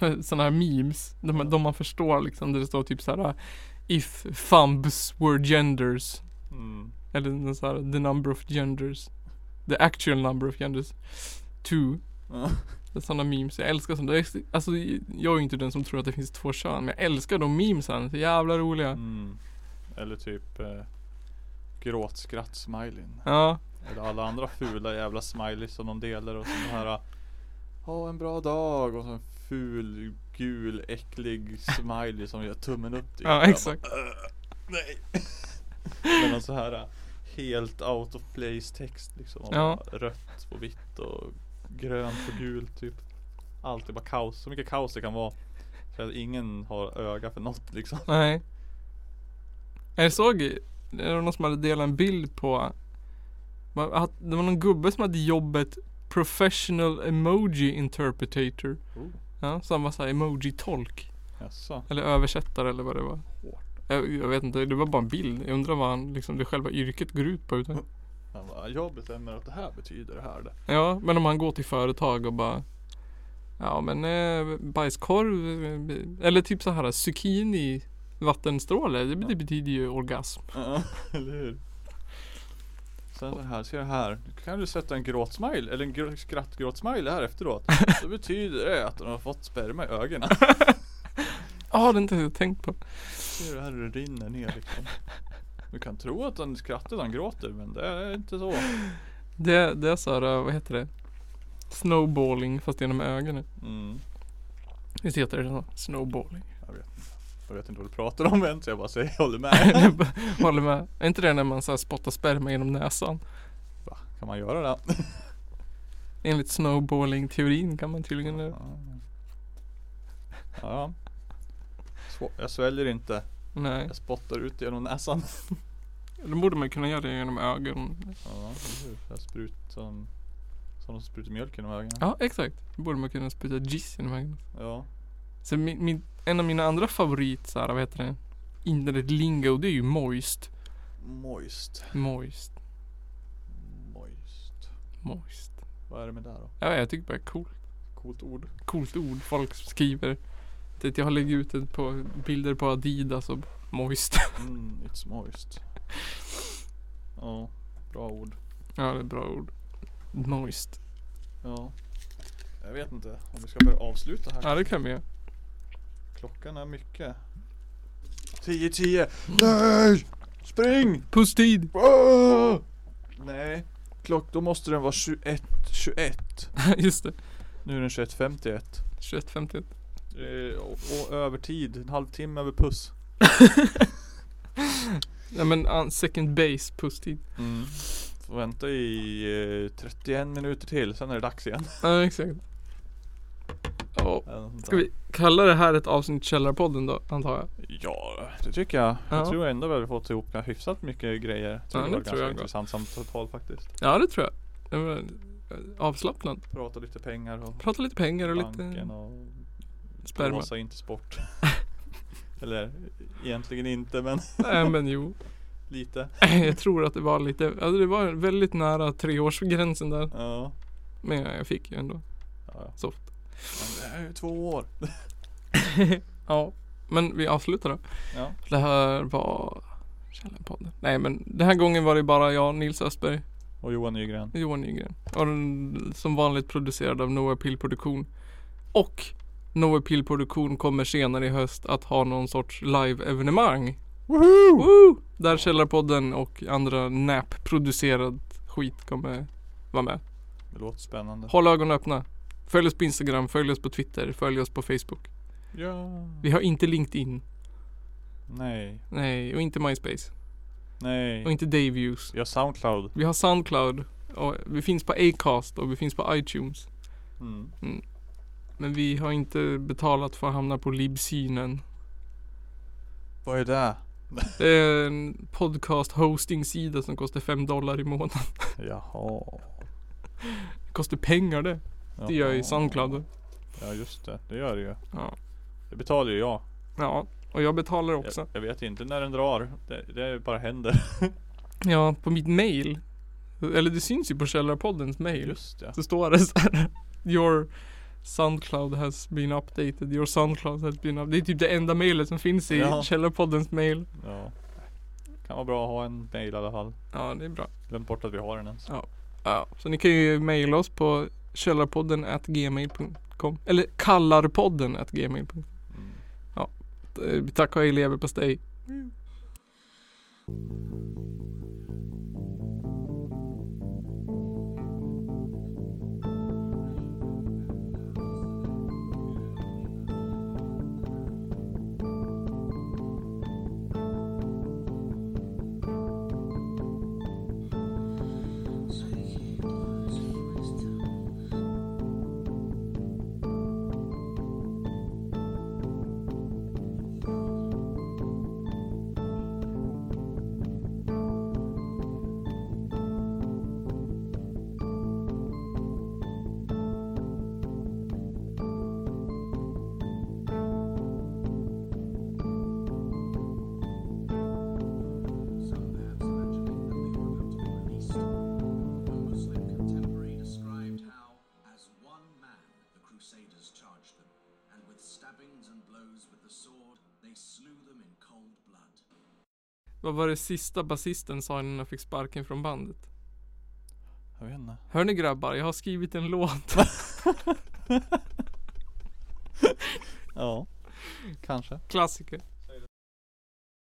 Speaker 1: eh, såna här memes. De, de man förstår liksom. Där det står typ så här If thumbs were genders.
Speaker 2: Mm.
Speaker 1: Eller någon så här, the number of genders. The actual number of genders. Two.
Speaker 2: Ja.
Speaker 1: Det är Sådana memes, jag älskar sånt. Det är- Alltså jag är ju inte den som tror att det finns två kön. Men jag älskar de memesen, så jävla roliga.
Speaker 2: Mm. Eller typ eh, gråtskratt-smileyn.
Speaker 1: Ja,
Speaker 2: Eller alla andra fula jävla smileys som de delar och sån här "Ah, Ha en bra dag och så en ful gul äcklig smiley som gör tummen upp till.
Speaker 1: ja
Speaker 2: Jag
Speaker 1: exakt.
Speaker 2: bara, Nej. Med någon så här eh, helt out of place text liksom. Och
Speaker 1: Ja.
Speaker 2: bara Rött på vitt och grönt på gult typ. Allt är bara kaos. Så mycket kaos det kan vara. Så att ingen har öga för något liksom.
Speaker 1: Nej. Jag såg, det var någon som hade delat en bild på va- att det var någon gubbe som hade jobbet Professional Emoji Interpretator.
Speaker 2: Oh.
Speaker 1: Ja, så han var såhär emoji-tolk.
Speaker 2: Jaså?
Speaker 1: Eller översättare eller vad det var. Jag, jag vet inte, det var bara en bild. Jag undrar vad han, liksom, det själva yrket går ut på. Utan.
Speaker 2: Han bara, jag bestämmer att det här betyder det här det.
Speaker 1: Ja, men om han går till företag och bara Ja men eh, bajskorv eh, Eller typ så här zucchini Vattenstråle, det, det betyder ju orgasm
Speaker 2: Ja, eller hur? Sen så här, ser jag här. Nu kan du sätta en gråtsmile, eller en gr- skrattgråtsmile här efteråt. Då betyder det att de har fått sperma i ögonen.
Speaker 1: Ja, ah, det har inte jag tänkt på
Speaker 2: Ser du här hur det rinner ner liksom. Du kan tro att han skrattar när han gråter, men det är inte så.
Speaker 1: Det, det är så här, eh, vad heter det? Snowballing fast genom ögonen
Speaker 2: Mm.
Speaker 1: Visst heter det så? Snowballing
Speaker 2: Jag vet inte vad du pratar om än, så jag bara säger jag håller med.
Speaker 1: Jag Håller med Är inte det när man så här spottar sperma genom näsan?
Speaker 2: Va, kan man göra det?
Speaker 1: Enligt snowballing-teorin kan man tydligen
Speaker 2: Ja.
Speaker 1: det
Speaker 2: ja. Svå- Jag sväljer inte.
Speaker 1: Nej
Speaker 2: Jag spottar ut genom näsan.
Speaker 1: Då borde man kunna göra det genom ögonen
Speaker 2: Ja, eller hur? Så här Sprut som, som de sprutar mjölk genom ögonen.
Speaker 1: Ja, exakt Då borde man kunna spruta jizz genom ögonen
Speaker 2: Ja.
Speaker 1: Så min, min, en av mina andra favorit så här, vad heter det? Internetlingo det är ju moist.
Speaker 2: Moist.
Speaker 1: Moist.
Speaker 2: Moist.
Speaker 1: Moist.
Speaker 2: Vad är det med det här då?
Speaker 1: Ja, jag tycker bara det är coolt.
Speaker 2: Coolt ord.
Speaker 1: Coolt ord folk skriver. Typ jag har lagt ut ett på bilder på Adidas och moist.
Speaker 2: Mm, it's moist. Ja, bra ord.
Speaker 1: ja, det är bra ord. Moist.
Speaker 2: Ja. Jag vet inte om vi ska börja avsluta här.
Speaker 1: Ja, det kan vi göra.
Speaker 2: Klockan är mycket. 10-10. Nej! Spring!
Speaker 1: Pusstid!
Speaker 2: Ah! Nej. Klock, då måste den vara 21. 21.
Speaker 1: Just det.
Speaker 2: Nu är den 21.51.
Speaker 1: 21.51.
Speaker 2: Eh, och, och övertid. En halvtimme över puss.
Speaker 1: Ja men uh, second base pusstid.
Speaker 2: Mm. Får vänta i eh, 31 minuter till, sen är det dags igen.
Speaker 1: Ja, exakt. Ja,
Speaker 2: Eller något sånt
Speaker 1: ska
Speaker 2: där.
Speaker 1: vi kalla det här ett avsnitt Källarpodden då, antar jag?
Speaker 2: Ja, det tycker jag. Jag
Speaker 1: Ja.
Speaker 2: tror ändå vi har fått ihop hyfsat mycket grejer. Jag Tror
Speaker 1: Ja,
Speaker 2: det
Speaker 1: det
Speaker 2: var
Speaker 1: tror
Speaker 2: ganska
Speaker 1: jag också.
Speaker 2: intressant samtal faktiskt.
Speaker 1: Ja, det tror jag. Det var eh, avslappnat.
Speaker 2: Prata lite pengar och
Speaker 1: Prata lite pengar och lite
Speaker 2: banken och
Speaker 1: sperma.
Speaker 2: blåsa inte sport. Eller egentligen inte, men
Speaker 1: Nej men jo.
Speaker 2: lite.
Speaker 1: Jag tror att det var lite, alltså det var väldigt nära treårsgränsen där.
Speaker 2: Ja.
Speaker 1: Men jag fick ju ändå
Speaker 2: ja, ja.
Speaker 1: soft.
Speaker 2: Men det här är ju två år.
Speaker 1: Ja. Men vi avslutar då.
Speaker 2: Ja.
Speaker 1: Det här var Källarpodden. Nej men den här gången var det bara jag, Nils Östberg
Speaker 2: Och Johan Nygren.
Speaker 1: och Johan Nygren. Och den, som vanligt producerad av Noah Pill Produktion. Och Noah Pill Produktion kommer senare i höst att ha någon sorts live-evenemang.
Speaker 2: Woho!
Speaker 1: Woo! Där Källarpodden och andra NAP-producerad skit kommer vara med.
Speaker 2: Det låter spännande.
Speaker 1: Håll ögonen öppna. Följ oss på Instagram, följ oss på Twitter, följ oss på Facebook.
Speaker 2: Ja.
Speaker 1: Vi har inte LinkedIn.
Speaker 2: Nej.
Speaker 1: Nej, och inte MySpace. Och
Speaker 2: Nej.
Speaker 1: inte Dayviews.
Speaker 2: Vi har Soundcloud.
Speaker 1: Vi har Soundcloud. Och vi finns på Acast och vi finns på iTunes.
Speaker 2: Mm.
Speaker 1: Men vi har inte betalat för att hamna på Libsynen.
Speaker 2: Vad är det?
Speaker 1: Det är en podcast hosting sida som kostar 5 dollar i månaden.
Speaker 2: Jaha.
Speaker 1: Det kostar pengar det. Det gör ju Soundcloud.
Speaker 2: Ja just det, det gör det ju.
Speaker 1: Ja.
Speaker 2: Det betalar ju jag.
Speaker 1: Ja, och jag betalar också.
Speaker 2: Jag, jag vet inte när den drar. Det, det bara händer.
Speaker 1: Ja, på mitt mail. Eller det syns ju på Källarpoddens mail.
Speaker 2: Just det.
Speaker 1: Så står det så här. Your Soundcloud has been updated. Your Soundcloud has been updated. Det är typ det enda mailet som finns i
Speaker 2: Ja.
Speaker 1: Källarpoddens mail.
Speaker 2: Ja. Kan vara bra att ha en mail i alla fall.
Speaker 1: Ja, det är bra.
Speaker 2: Glömt bort att vi har den ens.
Speaker 1: Ja, så ni kan ju mejla oss på källarpodden at gmail.com Eller kallarpodden at gmail.com Eh,
Speaker 2: Mm.
Speaker 1: Tack och hej leverpastej.
Speaker 3: Some maps mentioning that they were built in the east. One Muslim contemporary described how, as one man, the Crusaders charged them, and with stabbings and blows with the sword, they slew them in cold blood.
Speaker 1: Vad var det sista basisten sa innan han fick sparken från bandet?
Speaker 2: Jag vet inte.
Speaker 1: Hör ni grabbar, jag har skrivit en låt.
Speaker 2: Ja. Kanske.
Speaker 1: Klassiker.